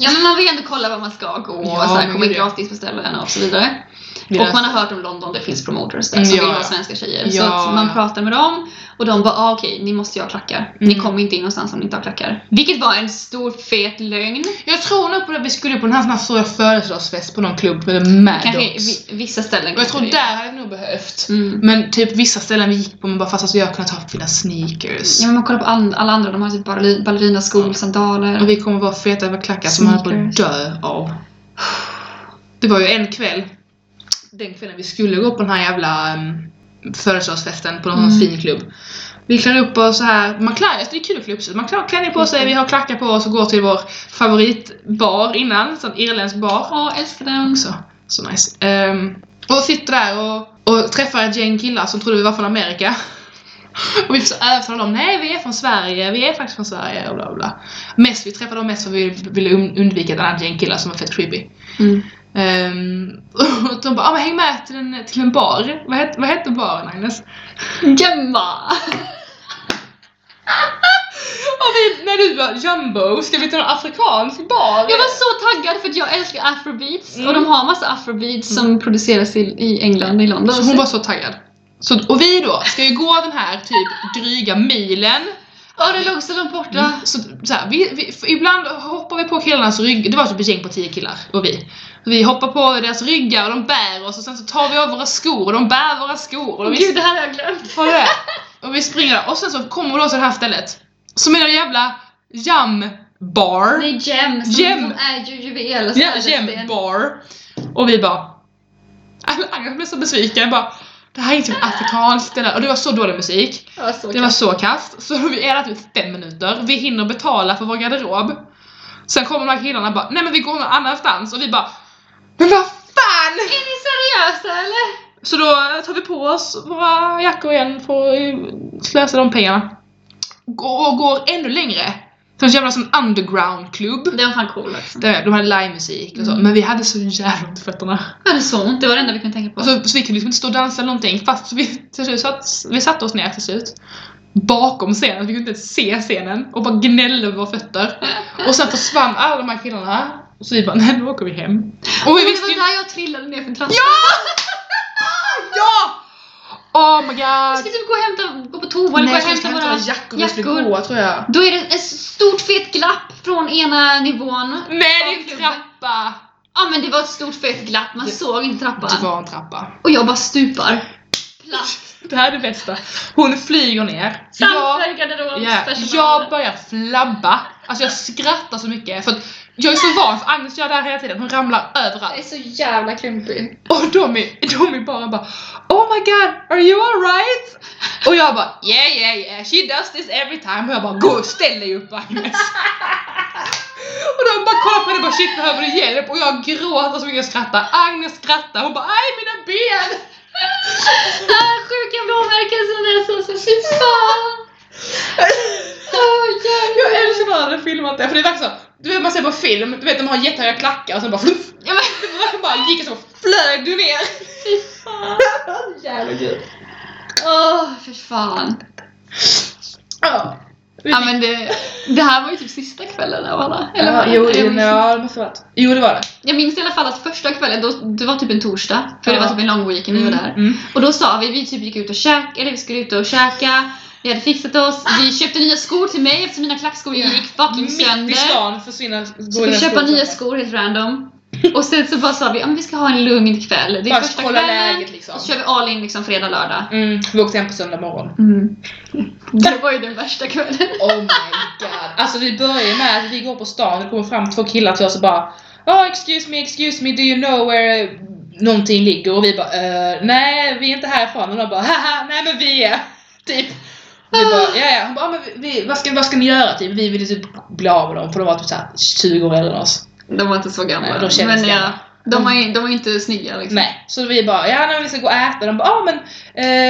S1: ja men man vill ändå kolla var man ska gå och
S2: Ja,
S1: så här,
S2: men
S1: komma in
S2: gud, ja.
S1: gratis på ställen och så vidare.
S2: Vi
S1: Och
S2: läser.
S1: man har hört om London, det finns promoters där
S2: Mm,
S1: som
S2: ja,
S1: vill ha
S2: ja.
S1: svenska tjejer. Så
S2: Ja,
S1: att man
S2: ja.
S1: pratar med dem och de bara ah, okej, ni måste ju ha klackar. Ni
S2: Mm.
S1: kommer inte in någonstans om ni inte har klackar. Vilket var en stor fet lögn.
S2: Jag tror nog på det, vi skulle på den här sån här stora födelsedagsfest på någon klubb med Maddox.
S1: Kanske vi, vissa ställen
S2: Och jag
S1: kanske
S2: tror
S1: det är.
S2: där hade vi nog behövt.
S1: Mm.
S2: Men typ vissa ställen vi gick på man bara fast alltså jag kunde ta fina sneakers.
S1: Ja men man kollar på all- alla andra, de har typ balleri- ballerinaskor,
S2: Ja.
S1: sandaler.
S2: Eh, Och vi kommer vara feta över klackar som man höll på att
S1: Sneakers.
S2: dö av. Det var ju en kväll. Den kvällen vi skulle gå på den här jävla um, födelsedagsfesten på någon
S1: Mm.
S2: fin klubb. Vi klär upp oss så här. Man klär sig, det är kul att klä upp sig. Man klär klänning på sig, vi har klackar på oss och går till vår favoritbar innan. Sån irländsk bar.
S1: Åh, älskar den.
S2: också. Så nice. Ehm, och sitter där och, och träffar ett gäng killar som trodde vi var från Amerika. Och vi försöker övertala dem, nej vi är från Sverige, vi är faktiskt från Sverige och bla bla, bla. Mest, vi träffade dem mest för vi ville un- undvika ett annat gäng killar som var fett creepy.
S1: Mm.
S2: Ehm, och de bara, ah, men häng med till en, till en bar. Vad hette, vad hette baren Agnes?
S1: Gemma!
S2: Och vi, när du var jumbo, ska vi till någon afrikansk bar?
S1: Jag var så taggad för att jag älskar afrobeats
S2: Mm.
S1: och de har massa afrobeats som produceras i, i England, i London.
S2: Så hon var så taggad. Så, och vi då, ska ju gå den här typ dryga milen
S1: Åh, det låg så långt borta.
S2: Mm. Så, så här, vi, vi, för ibland hoppar vi på killarnas rygg. Det var typ ett gäng på tio killar och vi. Vi hoppar på deras ryggar och de bär oss och sen så tar vi av våra skor och de bär våra skor. Och vi,
S1: Gud, det här har jag glömt.
S2: Har du det? och vi springer där. och sen så kommer vi då till det här stället. Som är en jävla jam
S1: Det
S2: bar.
S1: är gem som
S2: Gem.
S1: de är ju juveler. så
S2: Ja,
S1: här,
S2: jam
S1: sten.
S2: bar. Och vi bara... Jag blev så besviken. Jag bara, det här är inte afrikanskt. det där." Och det var så dålig musik.
S1: Det var så
S2: Det var så kast. Så vi är där typ fem minuter, vi hinner betala för vår garderob. Sen kommer de här killarna och bara nej men vi går någon annanstans och vi bara men vad fan!
S1: Är ni seriösa eller?
S2: Så då tar vi på oss våra jackor igen för att eh, slösa de pengarna. Går- Och går ännu längre. Som en jävla sån undergroundklubb.
S1: Det var fan cool också.
S2: Där De hade livemusik och så,
S1: Mm.
S2: men vi hade så jävla ont i fötterna.
S1: Jag hade så ont, det var det enda vi kunde tänka på.
S2: Och så, så vi kunde liksom inte stå och dansa eller någonting fast vi till slut satt, vi satte oss ner till slut bakom scenen, vi kunde inte ens se scenen och bara gnällde över våra fötter. Och sen försvann alla de här killarna och så vi bara nej nu åker vi hem. Och vi
S1: det
S2: visste
S1: var
S2: ju
S1: där jag trillade ner för trappan.
S2: Ja! Oh
S1: Vi
S2: my god!
S1: skulle typ gå och hämta, gå på toa eller gå
S2: Nej,
S1: och
S2: jag
S1: hämta
S2: skulle hämta
S1: våra
S2: jackor, vi skulle gå tror jag.
S1: Då är det ett stort fet glapp från ena nivån.
S2: Nej det är en trappa!
S1: Ja men det var ett stort fett glapp, man
S2: Det-
S1: såg inte trappan.
S2: Det var en trappa.
S1: Och jag bara stupar. Platt.
S2: Det här är det bästa. Hon flyger ner. Jag-
S1: Framför
S2: Ja,
S1: garderobspersonalen.
S2: jag börjar flabba. Alltså jag skrattar så mycket för att jag är så van för Agnes gör det här hela tiden, hon ramlar
S1: Jag är
S2: överallt.
S1: så jävla klumpig.
S2: Och de är, de är bara bara Oh my god, are you alright? Och jag bara yeah yeah yeah, she does this every time. Och jag bara gå och ställ dig upp Agnes. Och de bara kollar på henne och bara shit behöver du hjälp? Och jag gråter så mycket jag skrattar. Agnes skrattar, hon bara aj mina ben!
S1: Ah, sjuka blåmärken sen dess alltså, fy fan. Ah, Åh, jävlar.
S2: Jag älskar när de har filmat det, för det verkar så, du vet man ser på film, du vet de har jättehöga klackar och sen bara fluff.
S1: Ja, men,
S2: Han bara gick och så flög du ner.
S1: fy fan. Åh, fy fan.
S2: Ja.
S1: Ja men det, det här var ju typ sista kvällen av alla. Eller
S2: Ja,
S1: var det?
S2: jo,
S1: jag, minns,
S2: ja, det måste ha varit. Jo, det var det.
S1: jag minns i alla fall att första kvällen, då, det var typ en torsdag. För det var
S2: Ja.
S1: typ en lång weekend vi var där.
S2: Mm.
S1: Och då sa vi, vi typ gick ut och käkade, eller vi skulle ut och käka. Vi hade fixat oss, vi köpte nya skor till mig eftersom mina klackskor gick fucking
S2: Mitt i
S1: sönder.
S2: stan försvinner
S1: Så vi köpa nya skor helt random. Och sen så bara sa vi, ja men vi ska ha en lugn kväll. Det är
S2: Bara
S1: första
S2: kolla
S1: kvällen.
S2: läget liksom.
S1: Så kör vi all in liksom fredag, lördag.
S2: Mm, vi åkte hem på söndag morgon.
S1: Det var ju den värsta kvällen.
S2: Oh my god. Alltså vi börjar med att vi går på stan och det kommer fram två killar till oss och bara Oh excuse me, excuse me, do you know where eh, någonting ligger? Och vi bara eh, nej vi är inte härifrån. Och de bara haha, nej men vi är. Typ. Och vi bara ja ja. Hon bara, "Ja, men vi, vi- vad, ska, vad ska ni göra? Typ, vi ville typ bli av med dem för de var typ såhär 20 år äldre än oss.
S1: De var inte så gamla.
S2: Nej, de kändes
S1: men ja,
S2: gamla.
S1: de var, ju- de var inte snygga liksom.
S2: Nej, så vi bara ja nej, vi ska gå och äta. De bara ah, men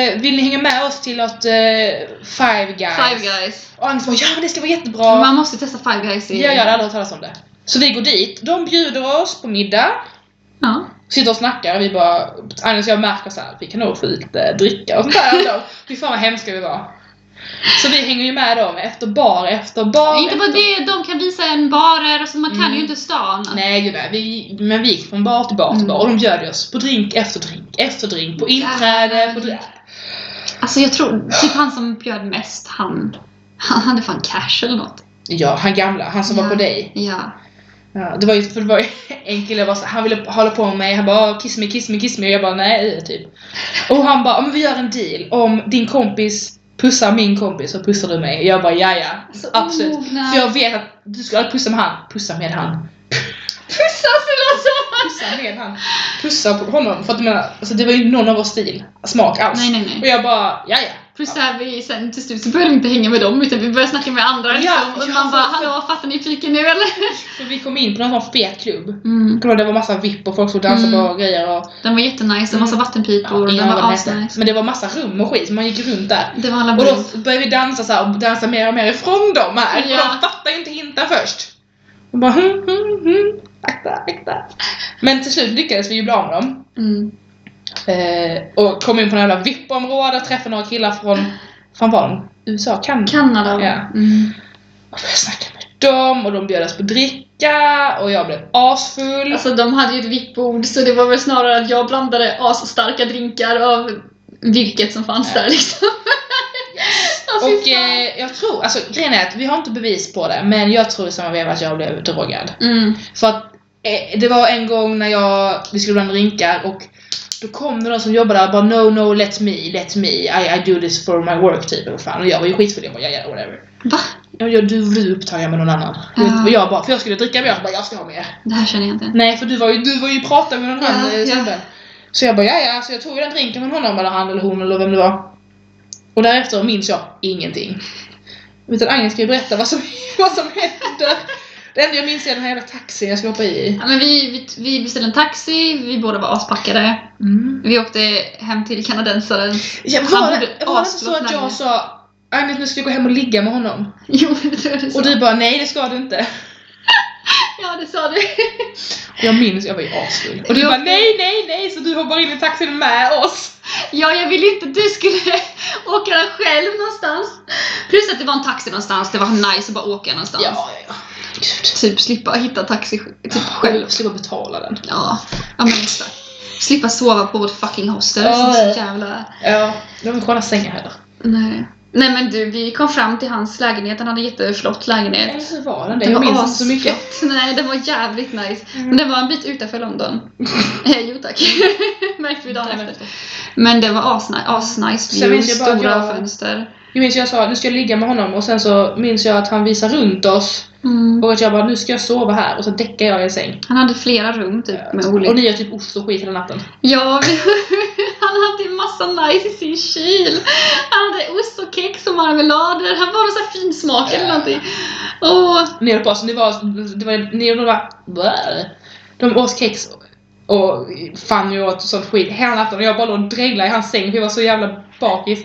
S2: eh, vill ni hänga med oss till något eh, Five Guys?
S1: Five guys.
S2: Och Agnes bara ja men det ska vara jättebra.
S1: Man måste testa five guys i...
S2: Ja, jag hade aldrig hört talas om det. Så vi går dit, de bjuder oss på middag,
S1: Ja.
S2: sitter och snackar och vi bara, Agnes och jag märker så här, vi kan nog få ut lite dricka och sånt där ändå. Fy fan vad hemska vi var. Så vi hänger ju med dem efter bar efter bar.
S1: Inte bara
S2: efter...
S1: det, de kan visa en barer och så man kan
S2: Mm.
S1: ju inte stan.
S2: Nej gud nej, vi, men vi gick från bar till bar till bar och de bjöd oss på drink efter drink efter drink, på inträde, på drink.
S1: Alltså jag tror, typ han som bjöd mest, han, han hade fan cash eller något.
S2: Ja, han gamla, han som var på dig.
S1: Ja.
S2: Ja, det var ju, för det var ju en kille var så, han ville hålla på med mig, han bara kiss me, kiss me, kiss me och jag bara nej typ. Och han bara, "Ja, men vi gör en deal om din kompis pussar min kompis så pussar du mig. Jag bara ja ja,
S1: Så
S2: absolut.
S1: omogna.
S2: För jag vet att du ska aldrig pussa med han, pussa med han.
S1: Pussas eller så!
S2: Pussa med han. Pussa på honom. För att jag menar, alltså, det var ju någon av vår stil, smak alls.
S1: Nej, nej, nej.
S2: Och jag bara ja ja.
S1: Plus här vi sen till slut så började vi inte hänga med dem utan vi började snacka med andra
S2: Ja,
S1: liksom. och
S2: ja,
S1: man bara,
S2: för-
S1: hallå fattar ni fiken nu eller?
S2: För vi kom in på någon sån fet klubb.
S1: Mm.
S2: Kolla, det var massa vipp och folk stod och dansade
S1: Mm.
S2: på grejer och...
S1: Den var jättenice, en massa
S2: Mm. Ja,
S1: vattenpipor, den
S2: ingen aning vad
S1: var
S2: den hette.
S1: asnice.
S2: Men det var massa rum och skit, man gick runt där.
S1: Det var alla
S2: Och
S1: bord.
S2: då började vi dansa så här, och dansa mer och mer ifrån dem här.
S1: Ja.
S2: Och de fattar ju inte hinten först. Och bara hm, hm, hm. Akta, akta. Men till slut lyckades vi ju bli av med dem.
S1: Mm.
S2: Eh, och kom in på några jävla VIP-område, träffade några killar från, fan var de? USA, Kanada?
S1: Kanada.
S2: Ja.
S1: Mm.
S2: och började snacka med dem och de bjöd oss på dricka och jag blev asfull.
S1: Alltså de hade ju ett vippbord så det var väl snarare att jag blandade asstarka drinkar av vilket som fanns där liksom. Ja, fy
S2: och
S1: fan.
S2: eh, jag tror, alltså grejen är att vi har inte bevis på det men jag tror i samma veva att jag blev drogad.
S1: mm.
S2: För att eh, det var en gång när jag, vi skulle blanda drinkar och då kom det någon som jobbade där och bara no no let me, let me, I, I do this for my work typ. Och, fan. och jag var ju skitfull, jag bara ja ja whatever.
S1: Va?
S2: Jag, jag, du du är upptagen med någon annan.
S1: Ja.
S2: Och jag bara, för jag skulle dricka mer, jag bara jag ska ha mer.
S1: Det här känner jag inte.
S2: Nej för du var ju, du var ju pratade med någon
S1: Ja,
S2: annan
S1: ja.
S2: yeah. snubbe. Så jag bara ja ja, så jag tog ju den drinken från honom eller han eller hon eller vem det var. Och därefter minns jag ingenting. Utan Agnes ska ju berätta vad som, vad som hände. Det enda jag minns är den här jävla taxin jag ska hoppa i.
S1: Ja, men vi, vi, vi beställde en taxi, vi båda var aspackade.
S2: Mm.
S1: Vi åkte hem till kanadensaren.
S2: Ja,
S1: Han
S2: var
S1: bodde
S2: det, var det inte så
S1: asblott
S2: att
S1: länge.
S2: jag sa Agnes nu ska jag gå hem och ligga med honom?
S1: Jo, det tror jag det sa.
S2: Och du bara nej det ska du inte.
S1: Ja, det sa du.
S2: Jag minns, jag var ju asfull. Och
S1: Jag-
S2: du bara nej nej nej så du hoppar in i taxin med oss.
S1: Ja, jag ville inte att du skulle åka den själv någonstans. Plus att det var en taxi någonstans, det var nice att bara åka någonstans.
S2: ja.
S1: Typ slippa hitta taxi sj- typ själv.
S2: Själv slippa betala den.
S1: Ja, ja men exakt. Slippa sova på vårt fucking hostel.
S2: Ja.
S1: som så jävla...
S2: Ja, det var inte sköna sängar heller.
S1: Nej. Nej men du, vi kom fram till hans lägenhet. Han hade en jätteflott lägenhet.
S2: Eller så var den det,
S1: Den
S2: jag
S1: var
S2: minns inte så mycket.
S1: asflott. Nej, den var jävligt nice.
S2: Mm.
S1: Men den var en bit utanför London. Eh, jo tack. Märkte vi dagen efter. Men den var asnice. Asnice
S2: Sen
S1: view,
S2: minns jag bara att
S1: stora
S2: jag-
S1: fönster.
S2: Jag minns jag sa nu ska jag ligga med honom och sen så minns jag att han visar runt oss och att jag bara nu ska jag sova här och så däckar jag i en säng.
S1: Mm. Han hade flera rum typ med
S2: Och
S1: olika...
S2: ni gör typ ost och skit hela natten.
S1: Ja, vi... han hade en massa nice i sin kyl. Han hade ost och kex och marmelader. Han var någon sån här finsmakare eller någonting. Och...
S2: Ni höll på så ni var, det var ni och de var bleh. De åt kex och Fanny åt sånt skit hela natten och jag bara låg och dreglade i hans säng för jag var så jävla bakis.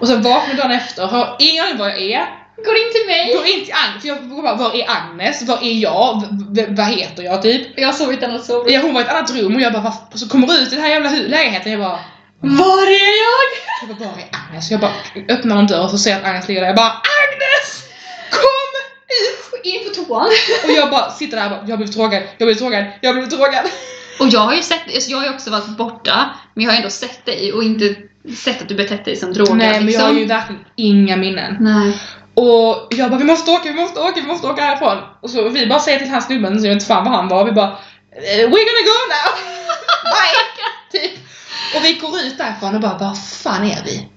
S2: Och sen vaknade jag dagen efter, har ingen aning var jag är.
S1: Går in till mig.
S2: Går in till Agnes, för jag bara var är Agnes? Var är jag? V- v- vad heter jag typ?
S1: Jag har sovit annat sovrum.
S2: Ja, hon var i ett annat rum och jag bara "Vad f-?" och så kommer jag ut i den här jävla hu- lägenheten och jag bara
S1: Var är jag?
S2: jag bara, var är Agnes? Jag bara öppnar en dörr och så ser jag att Agnes ligger där. Jag bara AGNES!
S3: in på toan.
S2: Och jag bara sitter där och bara, jag har blivit drogad, jag har blivit drogad, jag har blivit drogad.
S1: Och jag har ju sett, alltså jag har ju också varit borta, men jag har ändå sett dig och inte sett att du betett dig som drogad.
S2: Nej men jag har
S1: liksom.
S2: ju verkligen inga minnen.
S1: Nej.
S2: Och jag bara vi måste åka, vi måste åka, vi måste åka härifrån. Och så vi bara säger till han snubben, så jag vet inte fan vad han var, vi bara "Eh, We're gonna go now! Bye! typ. Och vi går ut därifrån och bara var fan är vi?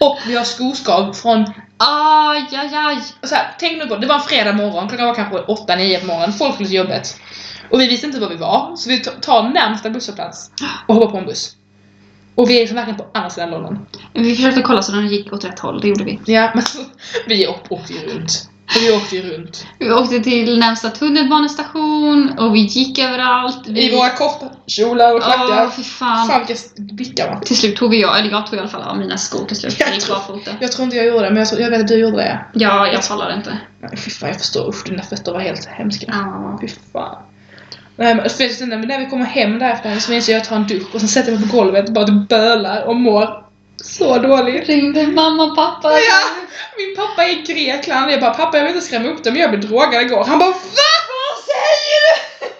S2: Och vi har skoskav från
S1: Aj, aj, aj.
S2: så här, tänk nu på, det var en fredag morgon, klockan var kanske 8-9 på morgonen, folk skulle till jobbet. Och vi visste inte var vi var, så vi t- tar närmsta busshållplats och hoppar på en buss. Och vi är liksom verkligen på andra sidan London.
S1: Vi försökte kolla så den gick åt rätt håll, det gjorde vi.
S2: Ja, men alltså, vi åk- åkte ju runt. Och vi åkte ju runt.
S1: Vi åkte till närmsta tunnelbanestation och vi gick överallt. Vi...
S2: I våra kortkjolar och klackar.
S1: Åh, fy fan.
S2: Fan vilka s- blickar man.
S1: Till slut tog vi jag, eller jag tog i alla fall av mina skor till slut.
S2: Jag
S1: Jag gick
S2: tror-
S1: barfota.
S2: Jag tror inte jag gjorde det, men jag, tror, jag vet att du gjorde det.
S1: Ja, jag talade inte.
S2: Nej, fy fan, jag förstår. Usch, dina fötter var helt hemska.
S1: Ja.
S2: Fy fan. Nej, men, för sen när när vi kommer hem därifrån så minns jag att jag tar en dusch och sen sätter jag mig på golvet och bara typ bölar och mår så dåligt.
S1: Ringde mamma och pappa.
S2: Ja, min pappa är i Grekland jag bara pappa jag vill inte skrämma upp dig men jag blev drogad igår. Han bara VA? Vad säger du?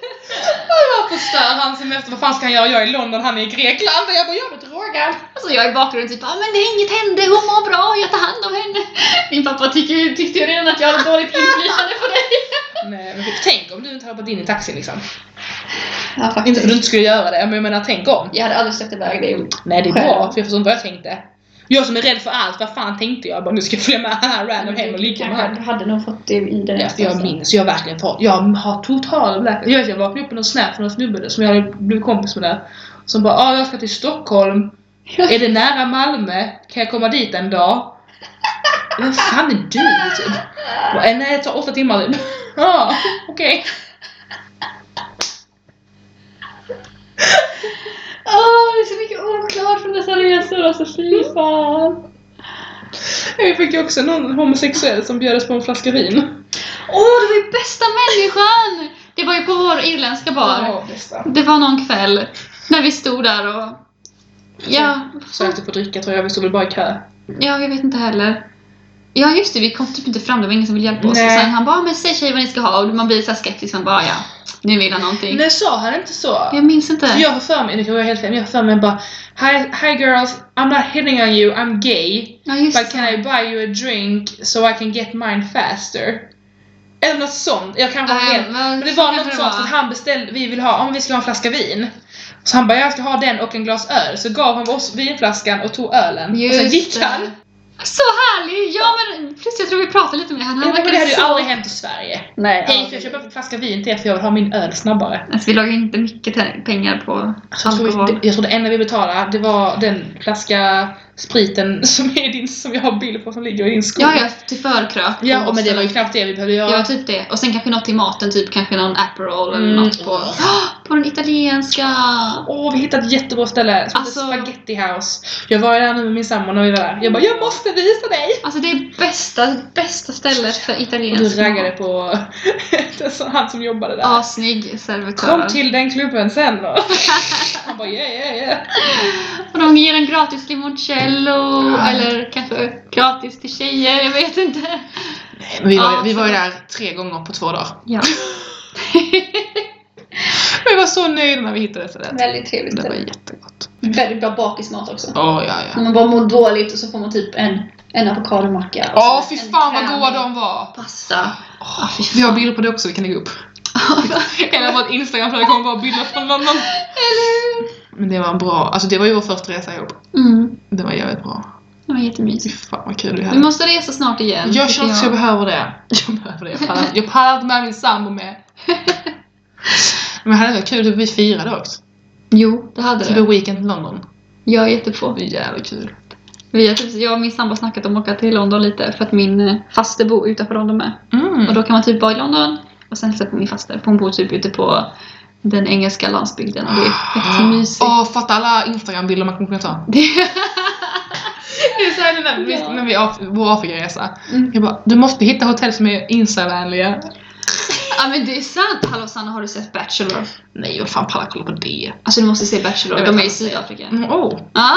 S2: Och jag bara, förstör hans semester, vad fan ska han göra? Jag är i London, han är i Grekland och jag bara jag blev drogad.
S1: Alltså jag i bakgrunden typ ah, men det inget hände, hon mår bra, jag tar hand om henne. Min pappa tyckte ju, tyckte ju redan att jag hade dåligt inflytande på dig.
S2: Nej, men tänk om du inte hade hoppat in i taxin liksom.
S1: Ja,
S2: Inte för att du inte skulle göra det, men jag menar tänk om.
S1: Jag hade aldrig släppt iväg dig.
S2: Nej det är
S1: Själv.
S2: bra, för jag förstår inte vad jag tänkte. Jag som är rädd för allt, vad fan tänkte jag? Bara, nu ska jag följa med här random hem och ligga med
S3: Kanske
S2: han.
S3: du hade nog fått det i den
S2: Ja, för jag minns, jag har verkligen fått, jag har total blackout. Jag vet, jag vaknade upp med någon snap från en snubbe som jag hade blivit kompis med där. Som bara ah, jag ska till Stockholm. Är det nära Malmö? Kan jag komma dit en dag? Vem fan är du? Typ. Bara, "Eh, Nej det tar åtta timmar typ. Ja, okej.
S3: Åh, det är så mycket oklart från dessa resor alltså, fy
S1: Mm.
S3: fan.
S2: Jag fick ju också någon homosexuell som bjöd oss på en flaska vin.
S1: Åh, du var ju bästa människan! Det var ju på vår irländska bar.
S2: Ja, bästa.
S1: Det var någon kväll när vi stod där och... Ja,
S2: Försökte få dricka tror jag, vi stod väl bara i kö.
S1: ja, jag vet inte heller. Ja just det, vi kom typ inte fram, det var ingen som ville hjälpa oss.
S2: Nej.
S1: Och sen han bara, men säg tjejer vad ni ska ha. Och man blir så här skeptisk, man bara, ja, nu vill han någonting.
S2: Nej, sa han inte så?
S1: Jag minns inte.
S2: För jag har för mig, nu kan jag vara helt fel, men jag har för mig bara hi, hi girls, I'm not hitting on you, I'm gay.
S1: Ja, just
S2: But
S1: det.
S2: can I buy you a drink so I can get mine faster? Eller något sånt, jag kanske har
S1: Nej,
S2: fel. Men det var
S1: kanske
S2: något
S1: det
S2: sånt för att han beställde, vi vill ha, om vi skulle ha en flaska vin. Så han bara, jag ska ha den och en glas öl. Så gav han oss vinflaskan och tog ölen. och sen
S1: Just
S2: gick
S1: det.
S2: han.
S1: Så härlig! Ja men plus jag tror vi pratade lite om det. Han,
S2: Men
S1: han
S2: det hade ju
S1: så...
S2: aldrig hänt i Sverige.
S1: Nej,
S2: Hej, får jag köpa en flaska vin till er för jag vill ha min öl snabbare?
S1: alltså, vi la ju inte mycket te- pengar på
S2: Så Alltså, jag, tror
S1: alkohol.
S2: vi, jag tror det enda vi betalade det var den flaska spriten som, är din, som jag har bild på som ligger i din sko.
S1: Ja, ja, till förkrök.
S2: Ja, och men det var ju knappt det vi behövde
S1: Det var
S2: göra.
S1: typ det. Och sen kanske något i maten, typ kanske någon Aperol eller
S2: Mm.
S1: något på... Ah, På den italienska!
S2: Åh, vi hittade ett jättebra ställe som
S1: Alltså-
S2: heter Spaghetti House. Jag var ju där nu med min sambo när vi var där. Jag bara, jag måste visa dig!
S1: Alltså det är bästa, bästa stället för
S2: Och du
S1: italiensk
S2: raggade på den som- han som jobbade där.
S1: Ja, snygg servitör.
S2: Kom till den klubben sen då! Han bara, yeah, yeah, yeah.
S1: Och de ger en gratis limoncello, eller kanske gratis till tjejer, jag vet inte.
S2: Men vi
S1: var ju- Ja, vi var ju
S2: där tre gånger på två dagar.
S1: Ja.
S2: Vi var så nöjda när vi hittade det stället.
S3: Väldigt trevligt ställe.
S2: jättegott.
S3: Väldigt bra bakismat också.
S2: Åh, ja, ja.
S3: När man bara mår dåligt och så får man typ en, en avokadomacka. och
S2: Ja,
S3: så
S1: Alltså,
S2: fy
S3: en
S2: fan vad
S3: krämig
S2: goda de var!
S1: Pasta.
S2: Åh, vi har bilder på det också, vi kan lägga upp. Hela vårt Instagramflöde kommer bara bilder från London. Men det var en bra, alltså det var ju vår första resa ihop.
S1: Mm,
S2: Det var jävligt bra.
S1: det var
S2: Fy
S1: jättemysigt.
S2: fan vad kul vi
S1: Vi
S2: hade.
S1: måste resa snart igen. tycker
S2: Jag känner också att jag behöver det. Jag behöver det. Jag pallar, jag pallar inte med min sambo med. Men det hade varit kul att vi firade också.
S1: Jo, det hade
S2: Typ
S1: du.
S2: en weekend i London.
S1: Jag är jättepå.
S2: Det är jävligt kul.
S1: Vi har typ, jag och min sambo har snackat om att åka till London lite för att min eh, faster bor utanför London med. Och
S2: Mm.
S1: då kan man typ vara i London och sen hälsa på min faster. för Hon bor typ ute på den engelska landsbygden och det
S2: Ah.
S1: är jättemysigt.
S2: Åh, fatta alla Instagram-bilder man kommer kunna ta.
S1: Det-
S2: Det är såhär när vi, när vi af, vår Afrikaresa.
S3: Mm.
S2: Jag bara, du måste hitta hotell som är Insta-vänliga.
S1: Ja men det är sant! Hallå Sanna, har du sett Bachelor?
S2: Nej, vad fan pallar kolla på det?
S1: Alltså du måste se Bachelor,
S2: Jag
S1: de
S2: vet
S1: är i
S2: inte.
S1: Sydafrika.
S2: Mm, oh.
S1: Ah, ah.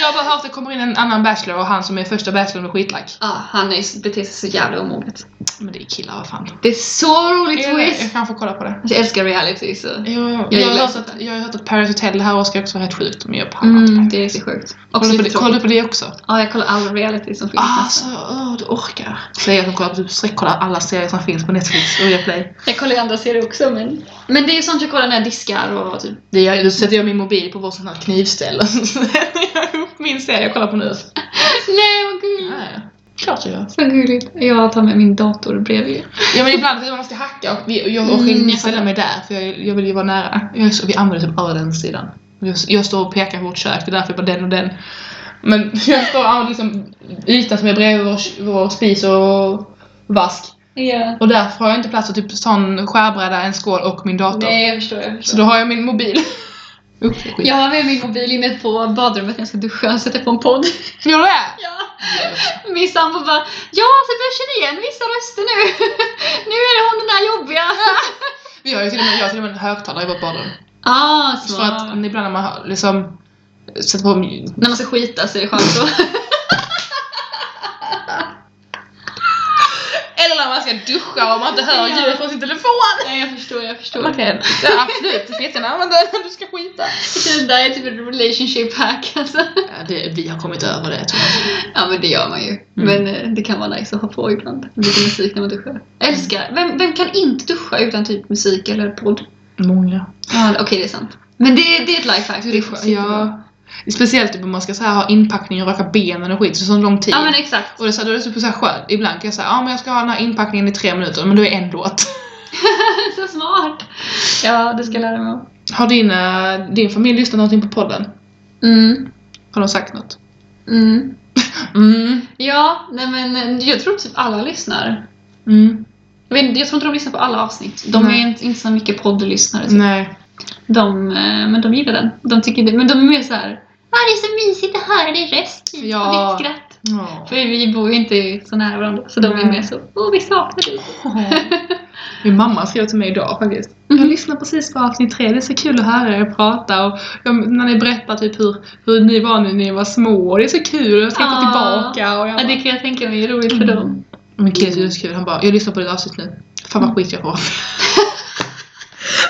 S2: Jag har bara hört att det kommer in en annan bachelor och han som är första bachelorn är skitlack.
S1: Ja, Ah, han är, beter sig så jävla omoget.
S2: Men det är killar, vad fan.
S1: Det är så rolig
S2: Jag,
S1: twist! Alltså,
S2: jag kanske får kolla på det.
S1: Jag älskar reality så...
S2: Jag,
S1: Jag
S2: jag, har
S1: gillar
S2: hört
S1: sånt
S2: att, jag har hört att Paris Hotel det här året ska också vara helt sjukt. Men jag pallar inte
S1: Mm,
S2: det.
S1: det är riktigt sjukt. Också
S2: Kollar
S1: lite
S2: på det, kollar
S1: tråkigt.
S2: på det också.
S1: Ja, jag kollar alla reality som finns
S2: Alltså,
S1: nästan.
S2: åh, du orkar. Det är jag som kollar på typ streckkollar alla serier som finns på Netflix och Viaplay.
S1: Jag kollar ju andra serier också men... Men det är ju sånt jag kollar när jag diskar och typ...
S2: Det gör jag- Då sätter jag min mobil på vårt sånt här knivställ och så sätter jag upp min serie jag kollar på nu.
S1: Nej vad gulligt!
S2: Nej, klart jag gör.
S1: Vad gulligt. Jag tar med min dator bredvid.
S2: Ja men ibland när man ska hacka och vi- och jag
S1: Mm,
S2: orkar inte
S1: jag
S2: ställa
S1: fattar.
S2: mig där för jag, jag vill ju vara nära. Jag, är så- vi använder typ bara den sidan. Jag, jag står och pekar på vårt kök, det är därför jag bara den och den. Men jag står och använder liksom ytan som är bredvid vår, vår spis och vask.
S1: Ja.
S2: Och därför har jag inte plats att typ ta en skärbräda, en skål och min dator.
S1: Nej jag förstår, jag
S2: Så
S1: förstår.
S2: då har jag min mobil. Upp, skit.
S1: Jag har med min mobil inne på badrummet när jag ska duscha och sätter på en podd.
S2: Gör du det?
S1: Ja. Min sambo bara Ja, alltså jag börjar känna igen vissa röster nu. nu är det hon den där jobbiga.
S2: Vi har ju till och med, jag har till och med en högtalare i vårt badrum.
S1: ah,
S2: Så att ibland när man har liksom sätter på
S1: När man ska skita så är det skönt så.
S2: Eller när man ska duscha och man inte hör ljud från sin telefon.
S1: Nej, jag förstår, jag förstår.
S2: Man kan, ja, absolut, du får jättegärna använda den när du ska skita.
S1: Det där är typ en relationship hack alltså.
S2: vi har kommit över det tror jag.
S1: Ja men det gör man ju. Men eh, det kan vara nice att ha på ibland. Lite musik när man duschar. Älskar! Vem, vem kan inte duscha utan typ musik eller podd?
S2: Många.
S1: Ja, Okej, det är sant. Men det, det är ett lifehack.
S2: Alltså,
S1: Det är skönt.
S2: Ja. Speciellt typ om man ska så här, ha inpackning och raka benen och skit, så sån lång tid.
S1: ja, men exakt.
S2: och det, är så här, då är det typ så, så här skönt. Ibland kan jag säga ja men jag ska ha den här inpackningen i tre minuter, men då är en låt.
S1: Så smart! Ja, det ska jag lära mig om.
S2: Har din, eh, din familj lyssnat någonting på podden?
S1: Mm.
S2: Har de sagt något?
S1: Mm.
S2: Mm.
S1: Ja, nej men jag tror typ alla lyssnar.
S2: mm.
S1: Jag, vet, inte, jag tror inte de lyssnar på alla avsnitt. De
S2: Nej.
S1: är inte, inte så mycket poddlyssnare. Typ.
S2: Nej.
S1: De, eh, men de gillar den. De tycker det, men de är mer så här. Ja, "Ah, det är så mysigt att höra din röst. typ,
S2: Ja.
S1: och Ditt skratt.
S2: Ja.
S1: För vi bor ju inte så nära varandra så de är
S2: Nej.
S1: mer så åh vi saknar dig.
S2: Min mamma skrev till mig idag faktiskt. Jag lyssnar precis på avsnitt tre, det är så kul att höra er prata och jag, när ni berättar typ hur, hur ni var när ni var små och det är så kul och jag tänker
S1: Ah.
S2: tillbaka och jag
S1: Ja det
S2: bara,
S1: kan jag tänka mig är roligt för
S2: Mm.
S1: dem.
S2: Min kille tyckte det var så kul, han bara jag lyssnar på ditt avsnitt nu. Fan vad skit jag får.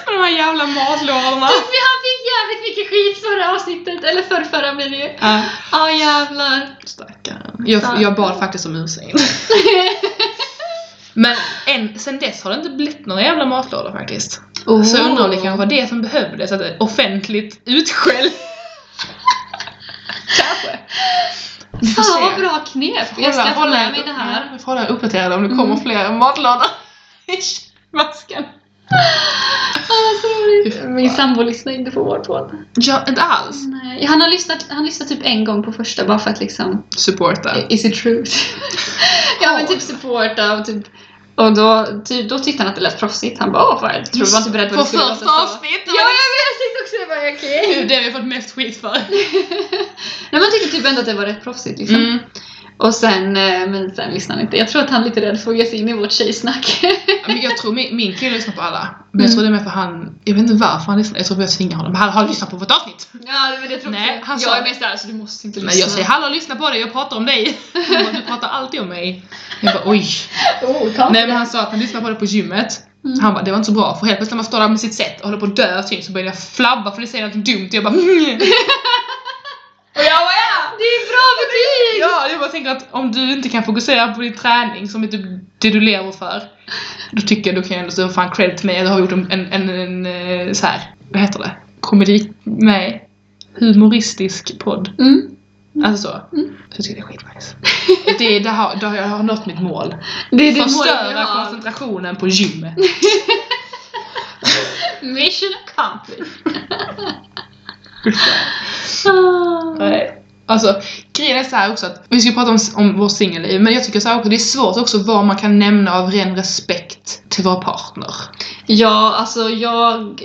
S2: Med de här jävla matlådorna.
S1: Vi han fick jävligt mycket skit förra avsnittet, eller förrförra förra blir det ju.
S2: Ja,
S1: Ja jävlar.
S2: stackarn. Jag, jag bad faktiskt om ursäkt. Men än, sen dess har det inte blivit några jävla matlådor faktiskt. Så jag undrar om det kanske var det som behövdes, att det offentligt utskäll. kanske. Vi får
S1: Fan vad
S2: se.
S1: bra knep. Jag ska ta med mig det här.
S2: Vi får hålla er uppdaterade om det kommer fler matlådor i masken.
S1: Åh så roligt. Min sambo lyssnar inte på vår podd.
S2: Ja, inte alls.
S1: Nej, han har lyssnat, han lyssnade typ en gång på första bara för att liksom
S2: Supporta.
S1: Is it true? ja men typ supporta och typ och då, typ, då tyckte han att det lät proffsigt. Han bara åh vad jag tror var inte beredd på
S2: På
S1: det skulle låta
S2: första
S1: så."
S2: avsnitt, det
S1: Ja
S2: var
S1: jag vet, jag tyckte också det var okej.
S2: Det är det vi har fått mest skit för.
S1: Nej man tyckte typ ändå att det var rätt proffsigt liksom.
S2: Mm.
S1: Och sen, eh, men sen lyssnade han inte. Jag tror att han är lite rädd för att ge sig in i vårt tjejsnack.
S2: Men jag tror min, min kille lyssnar på alla. Men jag tror det är med för han, jag vet inte varför han lyssnar. Jag tror att jag tvingar honom. Men han har lyssnat på vårt avsnitt.
S1: ja men det tror
S2: Nej,
S1: jag.
S2: han
S1: jag
S2: sa-
S1: är mer såhär så du måste inte
S2: Men jag säger hallå lyssna på dig, jag pratar om dig. Han bara, Du pratar alltid om mig. Jag bara oj.
S1: oh, kom.
S2: Nej men han sa att han lyssnade på det på gymmet. Han bara det var inte så bra för helt plötsligt när man står där med sitt sätt och håller på att dö av tyngd så börjar jag flabba för det säger något dumt och jag bara mm.
S1: Och jag bara ja! Det är bra betyg!
S2: Ja, jag bara tänker att om du inte kan fokusera på din träning som är typ det du lever för. Då tycker jag du kan ändå stå fan credit till mig att jag har gjort en, en, en, en eh, så här, vad heter det? Komedi? Nej. Humoristisk podd.
S1: Mm.
S2: Alltså så. Så jag tycker det är skitnice. Det, det har, det har, jag har nått mitt mål.
S1: Det är det målet vi
S2: Förstöra
S1: har.
S2: koncentrationen på gymmet.
S1: Mission accomplished.
S2: Nej. Alltså, grejen är så här också att vi ska prata om, om vår singelliv, men jag tycker så här också, det är svårt också vad man kan nämna av ren respekt till vår partner.
S1: Ja, alltså jag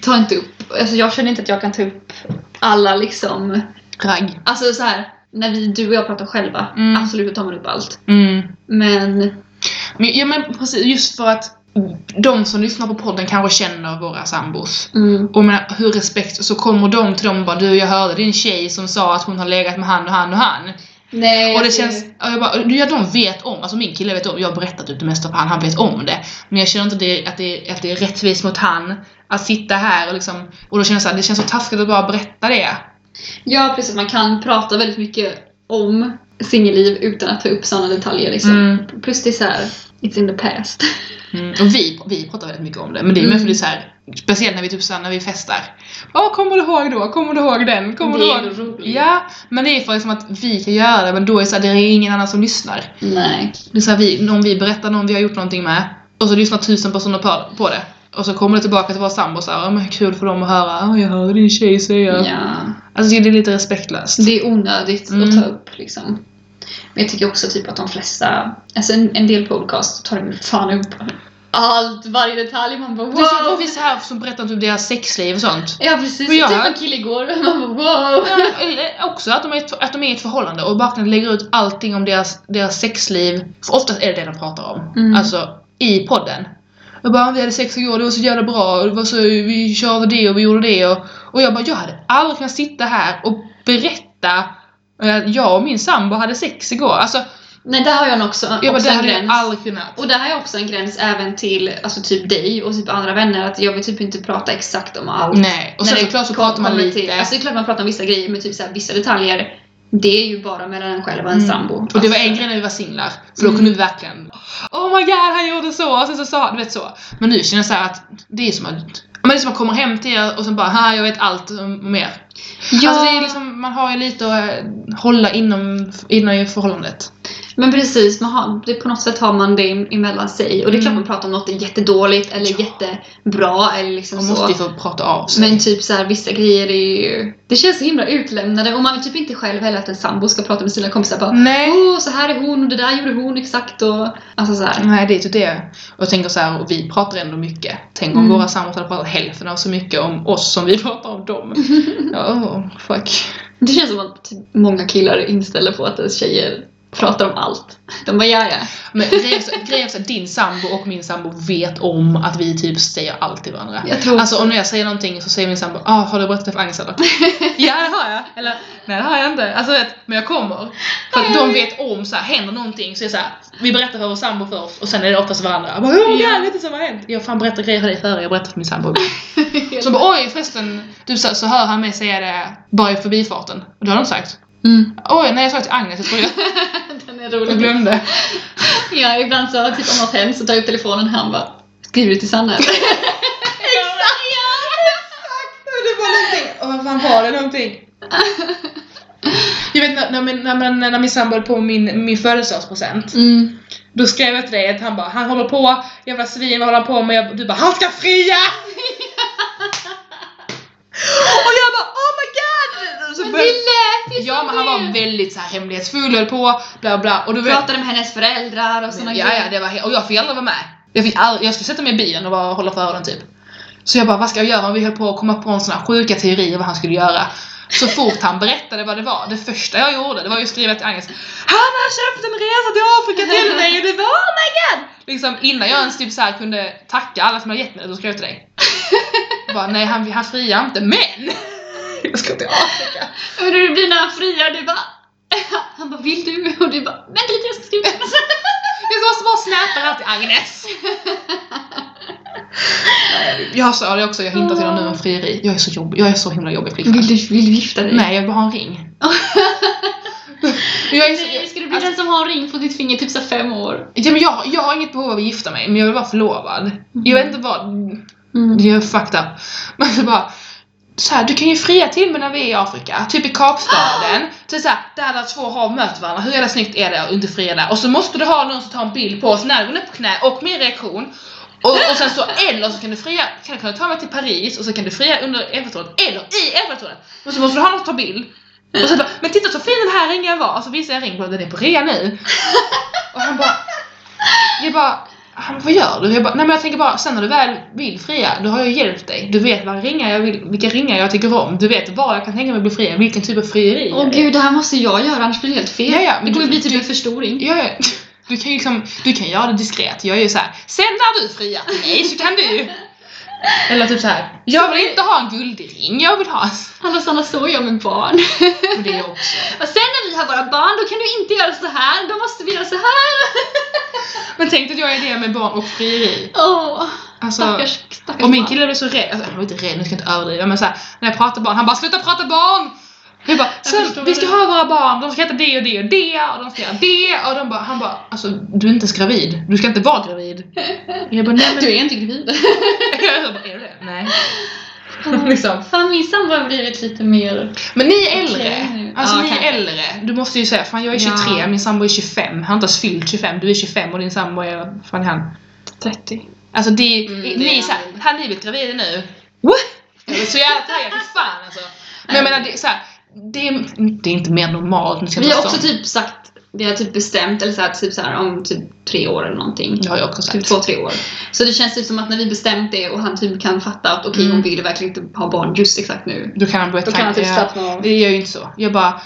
S1: tar inte upp, alltså jag känner inte att jag kan ta upp alla liksom,
S2: Ragg.
S1: alltså så här när vi, du och jag pratar själva,
S2: Mm.
S1: absolut då tar man upp allt.
S2: Mm.
S1: Men
S2: Men, ja men precis, just för att de som lyssnar på podden kanske känner våra sambos.
S1: Mm.
S2: Och med hur respekt, så kommer de till dem och bara du jag hörde din tjej som sa att hon har legat med han och han och han.
S4: Nej.
S2: Och det känns, och jag bara, du, ja de vet om, alltså min kille vet om, jag har berättat typ det mesta för han, han vet om det. Men jag känner inte det, att, det, att det är rättvist mot han att sitta här och liksom, och då känner jag så här, det känns så taskigt att bara berätta det.
S1: Ja, precis. Man kan prata väldigt mycket om singelliv utan att ta upp sådana detaljer. Liksom. Plus det är såhär, it's in the past.
S2: Mm, Och vi, vi pratar väldigt mycket om det, men det är mer för det är så här, speciellt när vi typ så här, när vi festar. Ja, kommer du ihåg då? Kommer du ihåg den? Kommer du
S1: Det är
S2: ihåg?
S1: ändå roligt.
S2: Ja, men det är för liksom att vi kan göra det, men då är det så här, det är ingen annan som lyssnar.
S1: Nej.
S2: Det är så här, vi, någon vi berättar, någon vi har gjort någonting med. Och så lyssnar tusen personer på, på det. Och så kommer det tillbaka till våra sambos och men kul för dem att höra. "Ja, jag hörde din tjej säga.
S1: Ja.
S2: Alltså det är lite respektlöst.
S1: Det är onödigt
S2: Mm.
S1: att ta upp liksom. Men jag tycker också typ att de flesta, alltså en, en del podcast tar de fan upp allt, varje detalj. Man bara
S2: Det är så- det
S1: wow!
S2: finns så här som berättar om typ deras sexliv och sånt.
S1: Ja precis,
S2: Men jag-
S1: jag träffade en kille igår man bara wow!
S2: Ja, Eller Eh, också att de, är, ett- att de är i ett förhållande och verkligen lägger ut allting om deras, deras sexliv. För oftast är det det de pratar om.
S1: Mm.
S2: Alltså i podden. Jag bara, "Ah, vi hade sex igår, det var så jävla bra, och det var så, vi körde det och vi gjorde det. Och, och jag bara, jag hade aldrig kunnat sitta här och berätta eh, jag och min sambo hade sex igår. Alltså,
S1: Nej där har jag nog också,
S2: jag bara,
S1: också
S2: det
S1: en
S2: hade jag
S1: gräns.
S2: aldrig kunnat.
S1: Och där har jag också en gräns även till alltså typ dig och typ andra vänner att jag vill typ inte prata exakt om allt.
S2: Mm. Nej, och sen
S1: När det
S2: såklart så
S1: kom-
S2: pratar man
S1: kommer
S2: lite.
S1: Till, alltså det är klart man pratar om vissa grejer men typ så här, vissa detaljer det är ju bara mellan en själv och en
S2: Mm.
S1: sambo.
S2: Och det var
S1: Alltså,
S2: en grej när vi var singlar, för då kunde vi verkligen Oh my god, han gjorde så! Och sen så sa du vet så. Men nu känner jag så här att det är som att men det är som att komma hem till er och sen bara ha jag vet allt om er.
S1: Ja,
S2: Alltså det är liksom, man har ju lite att eh, hålla inom, inom i förhållandet.
S1: men precis. Man har, det, på något sätt har man det in- emellan sig. Och det är klart
S2: Mm.
S1: man pratar om något är jättedåligt eller jättebra eller liksom
S2: Man
S1: så.
S2: måste ju få prata av sig.
S1: Men typ så här, vissa grejer är ju... Det känns så himla utlämnande och man vill typ inte själv heller att en sambo ska prata med sina kompisar bara
S2: Nej.
S1: Åh, så här är hon och det där gjorde hon exakt och... Alltså så här.
S2: Nej, det är typ det. Och jag tänker så här, och vi pratar ändå mycket. Tänk om
S1: Mm.
S2: våra sambos hade pratat hälften av så mycket om oss som vi pratar om dem. Ja, oh, fuck.
S1: Det känns som att typ många killar är inställda på att ens tjejer pratar om allt. De bara ja ja.
S2: Men grejen är så- grejen är så att din sambo och min sambo vet om att vi typ säger allt till varandra.
S1: Jag tror
S2: Alltså om jag säger någonting så säger min sambo ah, har du berättat det för Agnes eller? ja det har jag. Eller nej det har jag inte. Alltså vet, men jag kommer. För att de vet om så här, händer någonting så är det så här, vi berättar för vår sambo först och sen är det oftast varandra. Jag bara, oh my god,
S1: Ja.
S2: vet du vad som har hänt? Jag har fan berättat grejer för dig före jag berättar för min sambo. så bara oj förresten, du så, så hör han mig säga det bara i förbifarten. Och då har de sagt
S1: Mm.
S2: oj nej jag sa det till Agnes, jag tror jag,
S1: Den är
S2: jag
S1: rolig.
S2: glömde.
S1: Ja, ibland så typ om något hänt så tar jag upp telefonen och han bara Skriver du till Sanna eller?
S2: Exakt! Ja, exakt! Och det var någonting, och vad fan var det någonting? Jag vet när, när, min, när, man, när min sambo höll på med min, min födelsedagspresent
S1: Mm.
S2: Då skrev jag till dig att han bara han håller på, jävla svin vad håller han på med? Jag, du bara han ska fria! och jag bara oh my god! Så
S1: Men
S2: började-
S1: det lät ju
S2: ja
S1: som
S2: men han var
S1: det.
S2: väldigt så här hemlighetsfull höll på bla bla och du vet
S1: Pratade med hennes föräldrar och såna
S2: Ja, ja, det var he- och jag fick aldrig vara med. Jag, fick aldrig, jag skulle sätta mig i bilen och bara hålla för den typ. Så jag bara, vad ska jag göra? Och vi höll på att komma på en sån här sjuka teori om vad han skulle göra. Så fort han berättade vad det var, det första jag gjorde det var ju att skriva till Agnes Han har köpt en resa till Afrika till mig och det var oh my god! Liksom innan jag ens typ så här kunde tacka alla som hade gett mig det, då skrev jag till dig. Jag bara, nej han, han friar inte men! Jag ska till Afrika.
S1: Men du blir när han friar du bara Han bara vill du? Och du bara vänta lite jag ska skriva
S2: Jag måste bara släpa det här till Agnes. Jag sa det också, jag hintar till honom nu om frieri. Jag är så jobbig, jag är så himla jobbig flicka.
S1: Vill du, vill du gifta dig?
S2: Nej, jag vill ha en ring. jag, är så,
S1: Nej, Ska du bli
S2: Alltså-
S1: den som har en ring på ditt finger typ så här fem år?
S2: ja, men jag, jag har inget behov av att gifta mig, men jag vill vara förlovad. Jag vet inte vad,
S1: Mm.
S2: jag är fucked up. Men så bara, så här, du kan ju fria till mig när vi är i Afrika, typ i Kapstaden. Typ Så så här, där där två hav möter varandra, hur jävla snyggt är det att inte fria där? Och så måste du ha någon som tar en bild på oss när du går ner på knä och min reaktion. Och, och sen så, eller så kan du fria, kan du kunna ta mig till Paris och så kan du fria under Eiffeltornet, eller i Eiffeltornet. Och så måste du ha någon som tar bild. Och så bara, men titta så fin den här ringen var! Och så visar jag en ring, bara, den är på rea nu. Och han bara, jag bara, han bara, vad gör du? Jag bara, nej men jag tänker bara, sen när du väl vill fria, då har jag hjälpt dig. Du vet vad ringar jag vill, vilka ringar jag tycker om. Du vet var jag kan tänka mig att bli fria, vilken typ av frieri.
S1: Åh
S2: jag är.
S1: gud, det här måste jag göra annars blir det helt fel.
S2: Ja, ja, men
S1: det kommer
S2: du-
S1: bli typ
S2: du-
S1: en förstoring.
S2: Jag är... Du kan ju liksom, du kan göra det diskret. Jag är ju så här. sen när du friar till mig så kan du. Eller typ så här. jag vill inte ha en guldring, jag vill ha en...
S5: Alexandra, så gör med barn.
S2: Och det är jag också.
S5: Och sen när vi har våra barn, då kan du inte göra så här. Då måste vi göra så här.
S2: Men tänk att jag är det med barn och frieri.
S5: Åh,
S2: Alltså,
S5: stackars, stackars
S2: Och min
S5: barn.
S2: kille blev så rädd, alltså, han var inte rädd, nu ska jag inte överdriva men såhär, när jag pratar barn, han bara sluta prata barn! Jag bara,
S5: Alltså, förstår
S2: sen, vi ska
S5: det.
S2: ha våra barn, de ska heta det och det och det och de ska göra det och de bara, han bara, alltså du är inte ens gravid, du ska inte vara gravid. Jag bara, nej men...
S1: Du är inte gravid.
S2: Jag bara, är du det? Nej. liksom.
S5: Fan, min sambo har blivit lite mer...
S2: Men ni är äldre,
S5: Okej.
S2: alltså
S5: Ja,
S2: ni
S5: kanske.
S2: är äldre. Du måste ju säga, fan jag är 23,
S5: Ja.
S2: min sambo är 25, han har inte ens fyllt 25, du är 25 och din sambo är, vad fan är han? 30. Alltså det,
S5: Mm, det
S2: ni
S5: är
S2: är såhär,
S5: han.
S2: han är blivit gravid nu. What? Jag är så jävla taggad, för fan alltså. Men jag menar det är såhär, det är, det är inte mer normalt. nu ska jag
S1: Vi har
S2: inte
S1: också
S2: sån.
S1: typ sagt, vi har typ bestämt, eller så här, typ så här, om typ tre år eller någonting.
S2: Det har jag också sagt.
S1: Typ två, tre år. Så det känns typ som att när vi bestämt det och han typ kan fatta att okej
S2: Mm.
S1: hon vill verkligen inte ha barn just exakt nu.
S2: Då kan han börja
S1: Då kan han typ
S2: tanka.
S1: slappna av.
S2: Det gör ju inte så. Jag bara,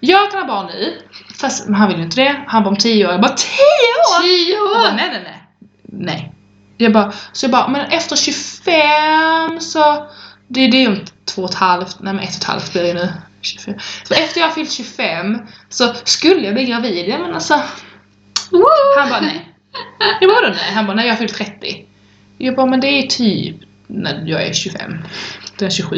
S2: jag kan ha barn nu. Fast men han vill ju inte det. Han bara om 10 år. Jag bara 10 år!
S5: Tio
S2: Jag bara,
S5: år!
S2: nej, nej, nej. Nej. Jag bara, så jag bara, men efter 25 så... Det, det är ju om två och ett halvt, nej men ett och ett halvt blir det ju nu. 24. Så efter jag har fyllt 25 så skulle jag bli gravid. Jag men alltså, han bara nej. Jag bara då nej? Han bara nej jag har fyllt 30. Jag bara men det är typ när jag är 25. Du är 27.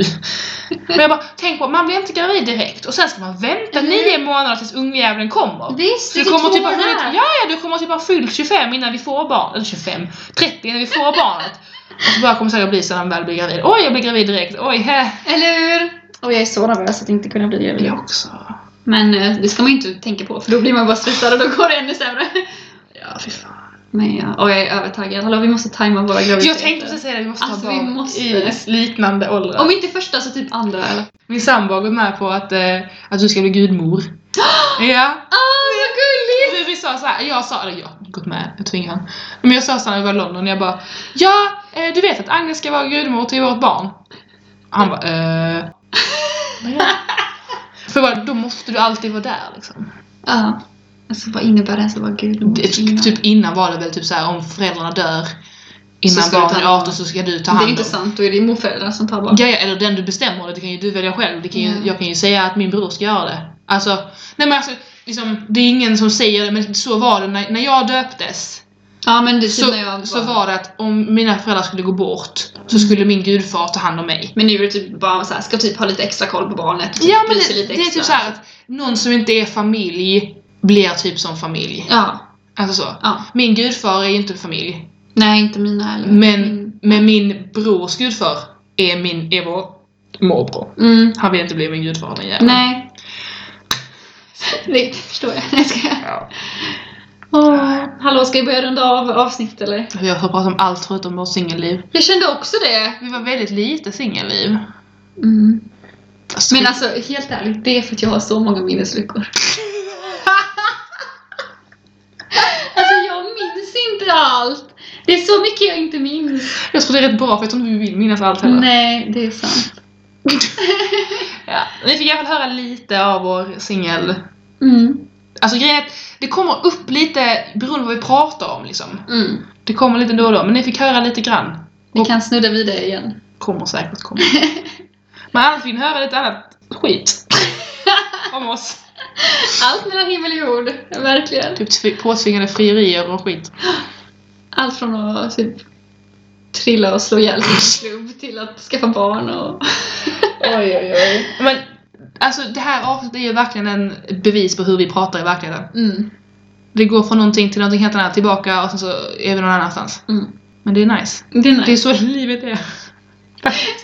S2: Men jag bara tänk på man blir inte gravid direkt och sen ska man vänta nio månader tills ungjäveln kommer.
S5: Visst,
S2: Du
S5: det är
S2: kommer,
S5: två
S2: typ ha
S5: år
S2: hunnit,
S5: där.
S2: ja, ja, du kommer typ ha fyllt 25 innan vi får barn. Eller 25, 30 innan vi får barnet. Och så bara kommer säkert bli så när han väl blir gravid. Oj, jag blir gravid direkt. Oj, hä.
S1: Eller hur? Och jag är så nervös att inte kunna bli gravid.
S2: Jag också.
S1: Men eh, det ska man ju inte tänka på för då blir man bara stressad och då går det ännu sämre.
S2: Ja, fy fan.
S1: Men ja, och jag är övertaggad. Hallå vi måste tajma våra graviditeter.
S2: Jag tänkte precis säga det, vi måste
S1: Alltså,
S2: ha
S1: vi
S2: barn
S1: måste
S2: i liknande åldrar.
S1: Om inte första så typ andra eller?
S2: Min sambo har gått med på att, eh, att du ska bli gudmor. ja.
S1: Åh så gulligt!
S2: Vi, vi sa så här, jag sa, eller jag har gått med, jag tvingade han. Men jag sa så här när vi var i London, jag bara Ja, eh, du vet att Agnes ska vara gudmor till vårt barn. Han bara eh. Men ja. För jag bara, då måste du alltid vara där liksom.
S1: Ja. Alltså vad innebär det ens att vara gudmor?
S2: Det, typ innan var det väl typ så här om föräldrarna dör
S1: Så
S2: innan
S1: ska du
S2: barnet
S1: ta
S2: är
S1: hand om.
S2: 18 så ska du ta
S1: Det är
S2: hand
S1: inte
S2: om.
S1: sant, då är det ju morföräldrarna som tar barn.
S2: Ja, ja, eller den du bestämmer det kan ju du välja själv. Det kan ju,
S1: Mm.
S2: Jag kan ju säga att min bror ska göra det. Alltså, nej men alltså, liksom, det är ingen som säger det men så var det när, när jag döptes.
S1: Ja men det är typ
S2: så,
S1: när jag Mm.
S2: så var det att om mina föräldrar skulle gå bort så skulle min gudfar ta hand om mig.
S1: Men nu är det typ bara så här, ska typ ha lite extra koll på barnet. Typ
S2: Ja men
S1: bry sig
S2: det, det är
S1: extra.
S2: typ så här att någon som inte är familj blir typ som familj.
S1: Ja,
S2: Alltså så.
S1: ja.
S2: Min gudfar är ju inte familj.
S1: Nej, inte mina heller.
S2: Men,
S1: Min-
S2: men min brors gudfar är min, är vår morbror.
S1: Mm.
S2: Han vill inte bli min gudfar den jäveln.
S1: Nej. Det förstår jag. Nej, ska jag.
S2: Ja.
S1: Åh, hallå, ska vi börja runda av avsnittet eller?
S2: Vi har pratat om allt förutom vårt singelliv.
S1: Jag kände också det.
S2: Vi var väldigt lite singelliv.
S1: Mm.
S2: Alltså,
S1: Men alltså, helt ärligt, det är för att jag har så många minnesluckor.
S5: Alltså jag minns inte allt. Det är så mycket jag inte minns.
S2: jag tror det är rätt bra för jag tror inte vi vill minnas allt heller.
S1: Nej, det är sant.
S2: Ja. Ni fick i alla fall höra lite av vår singel
S1: Mm.
S2: Alltså grejen är att det kommer upp lite beroende på vad vi pratar om liksom.
S1: Mm.
S2: Det kommer lite då och då, men ni fick höra lite grann.
S1: Vi kan snudda vid det igen.
S2: Kommer säkert komma. men annars vill ni höra lite annat skit. om oss.
S1: Allt mellan himmel och jord, verkligen.
S2: Typ tv- påtvingade frierier och skit.
S1: Allt från att typ trilla och slå ihjäl sig i en
S2: Mm.
S1: klubb till att skaffa barn och...
S2: Oj, oj, oj. Men alltså det här avsnittet är ju verkligen en bevis på hur vi pratar i verkligheten.
S1: Mm.
S2: Det går från någonting till någonting helt annat, tillbaka och sen så är vi någon annanstans.
S1: Mm.
S2: Men det är nice.
S1: Det, är
S2: Det är
S1: nice.
S2: så livet är.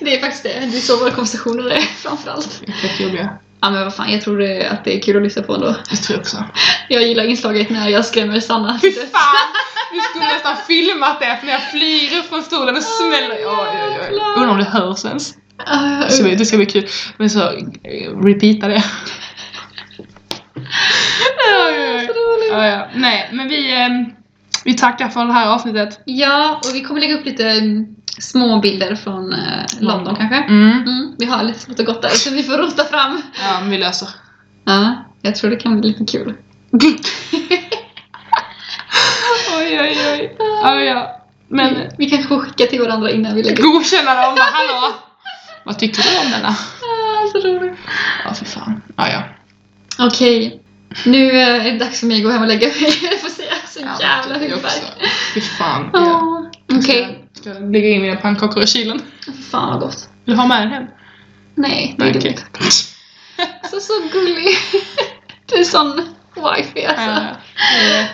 S1: det är faktiskt det. Det är så våra konversationer är framförallt.
S2: Fett jobbiga.
S1: Ja men vad fan, jag tror det, att det är kul att lyssna på ändå.
S2: Det tror jag också.
S1: Jag gillar inslaget när jag skrämmer Sanna.
S2: Fy fan! Vi skulle nästan filmat det för när jag flyr upp från stolen och smäller. Oj, oj, oj.
S1: jävlar.
S2: Undrar om det hörs ens.
S1: Ah,
S2: Det ska bli, det ska bli kul. Men så, eh, repeata det. Oj, oj,
S1: så
S2: oj.
S1: roligt.
S2: Ja, ja. Nej, men vi, eh, vi tackar för det här avsnittet.
S1: Ja, och vi kommer lägga upp lite mm, små bilder från eh, London kanske.
S2: Mm.
S1: Mm, vi har lite smått och gott där så vi får rota fram.
S2: Ja, men vi löser.
S1: Ja, jag tror det kan bli lite kul.
S2: Oj, oj, oj. Ja, ja. Men
S1: Vi kanske får skicka till varandra innan vi lägger upp.
S2: godkänna dem. Bara, Hallå! Vad tycker du om denna?
S1: Ah, så roligt.
S2: Ja, fy fan. Ja, ja.
S1: Okej. Nu eh, är det dags för mig att gå hem och lägga mig. Jag får säga så
S2: Ja,
S1: jävla
S2: det också.
S1: huvudvärk.
S2: Fy fan. Ja.
S1: Ah, Okej.
S2: Ska jag lägga in mina pannkakor i kylen?
S1: Fan vad gott.
S2: Vill du ha med en hem?
S1: Nej, det är
S2: okej.
S1: dumt. Så, så gullig. Du är sån wifey alltså.
S2: Ja, ja.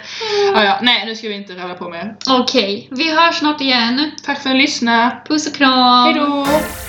S2: ja, ja. Nej, nu ska vi inte röra på mer.
S1: Okej, vi hörs snart igen.
S2: Tack för att ni lyssnade.
S1: Puss och kram.
S2: Hej då!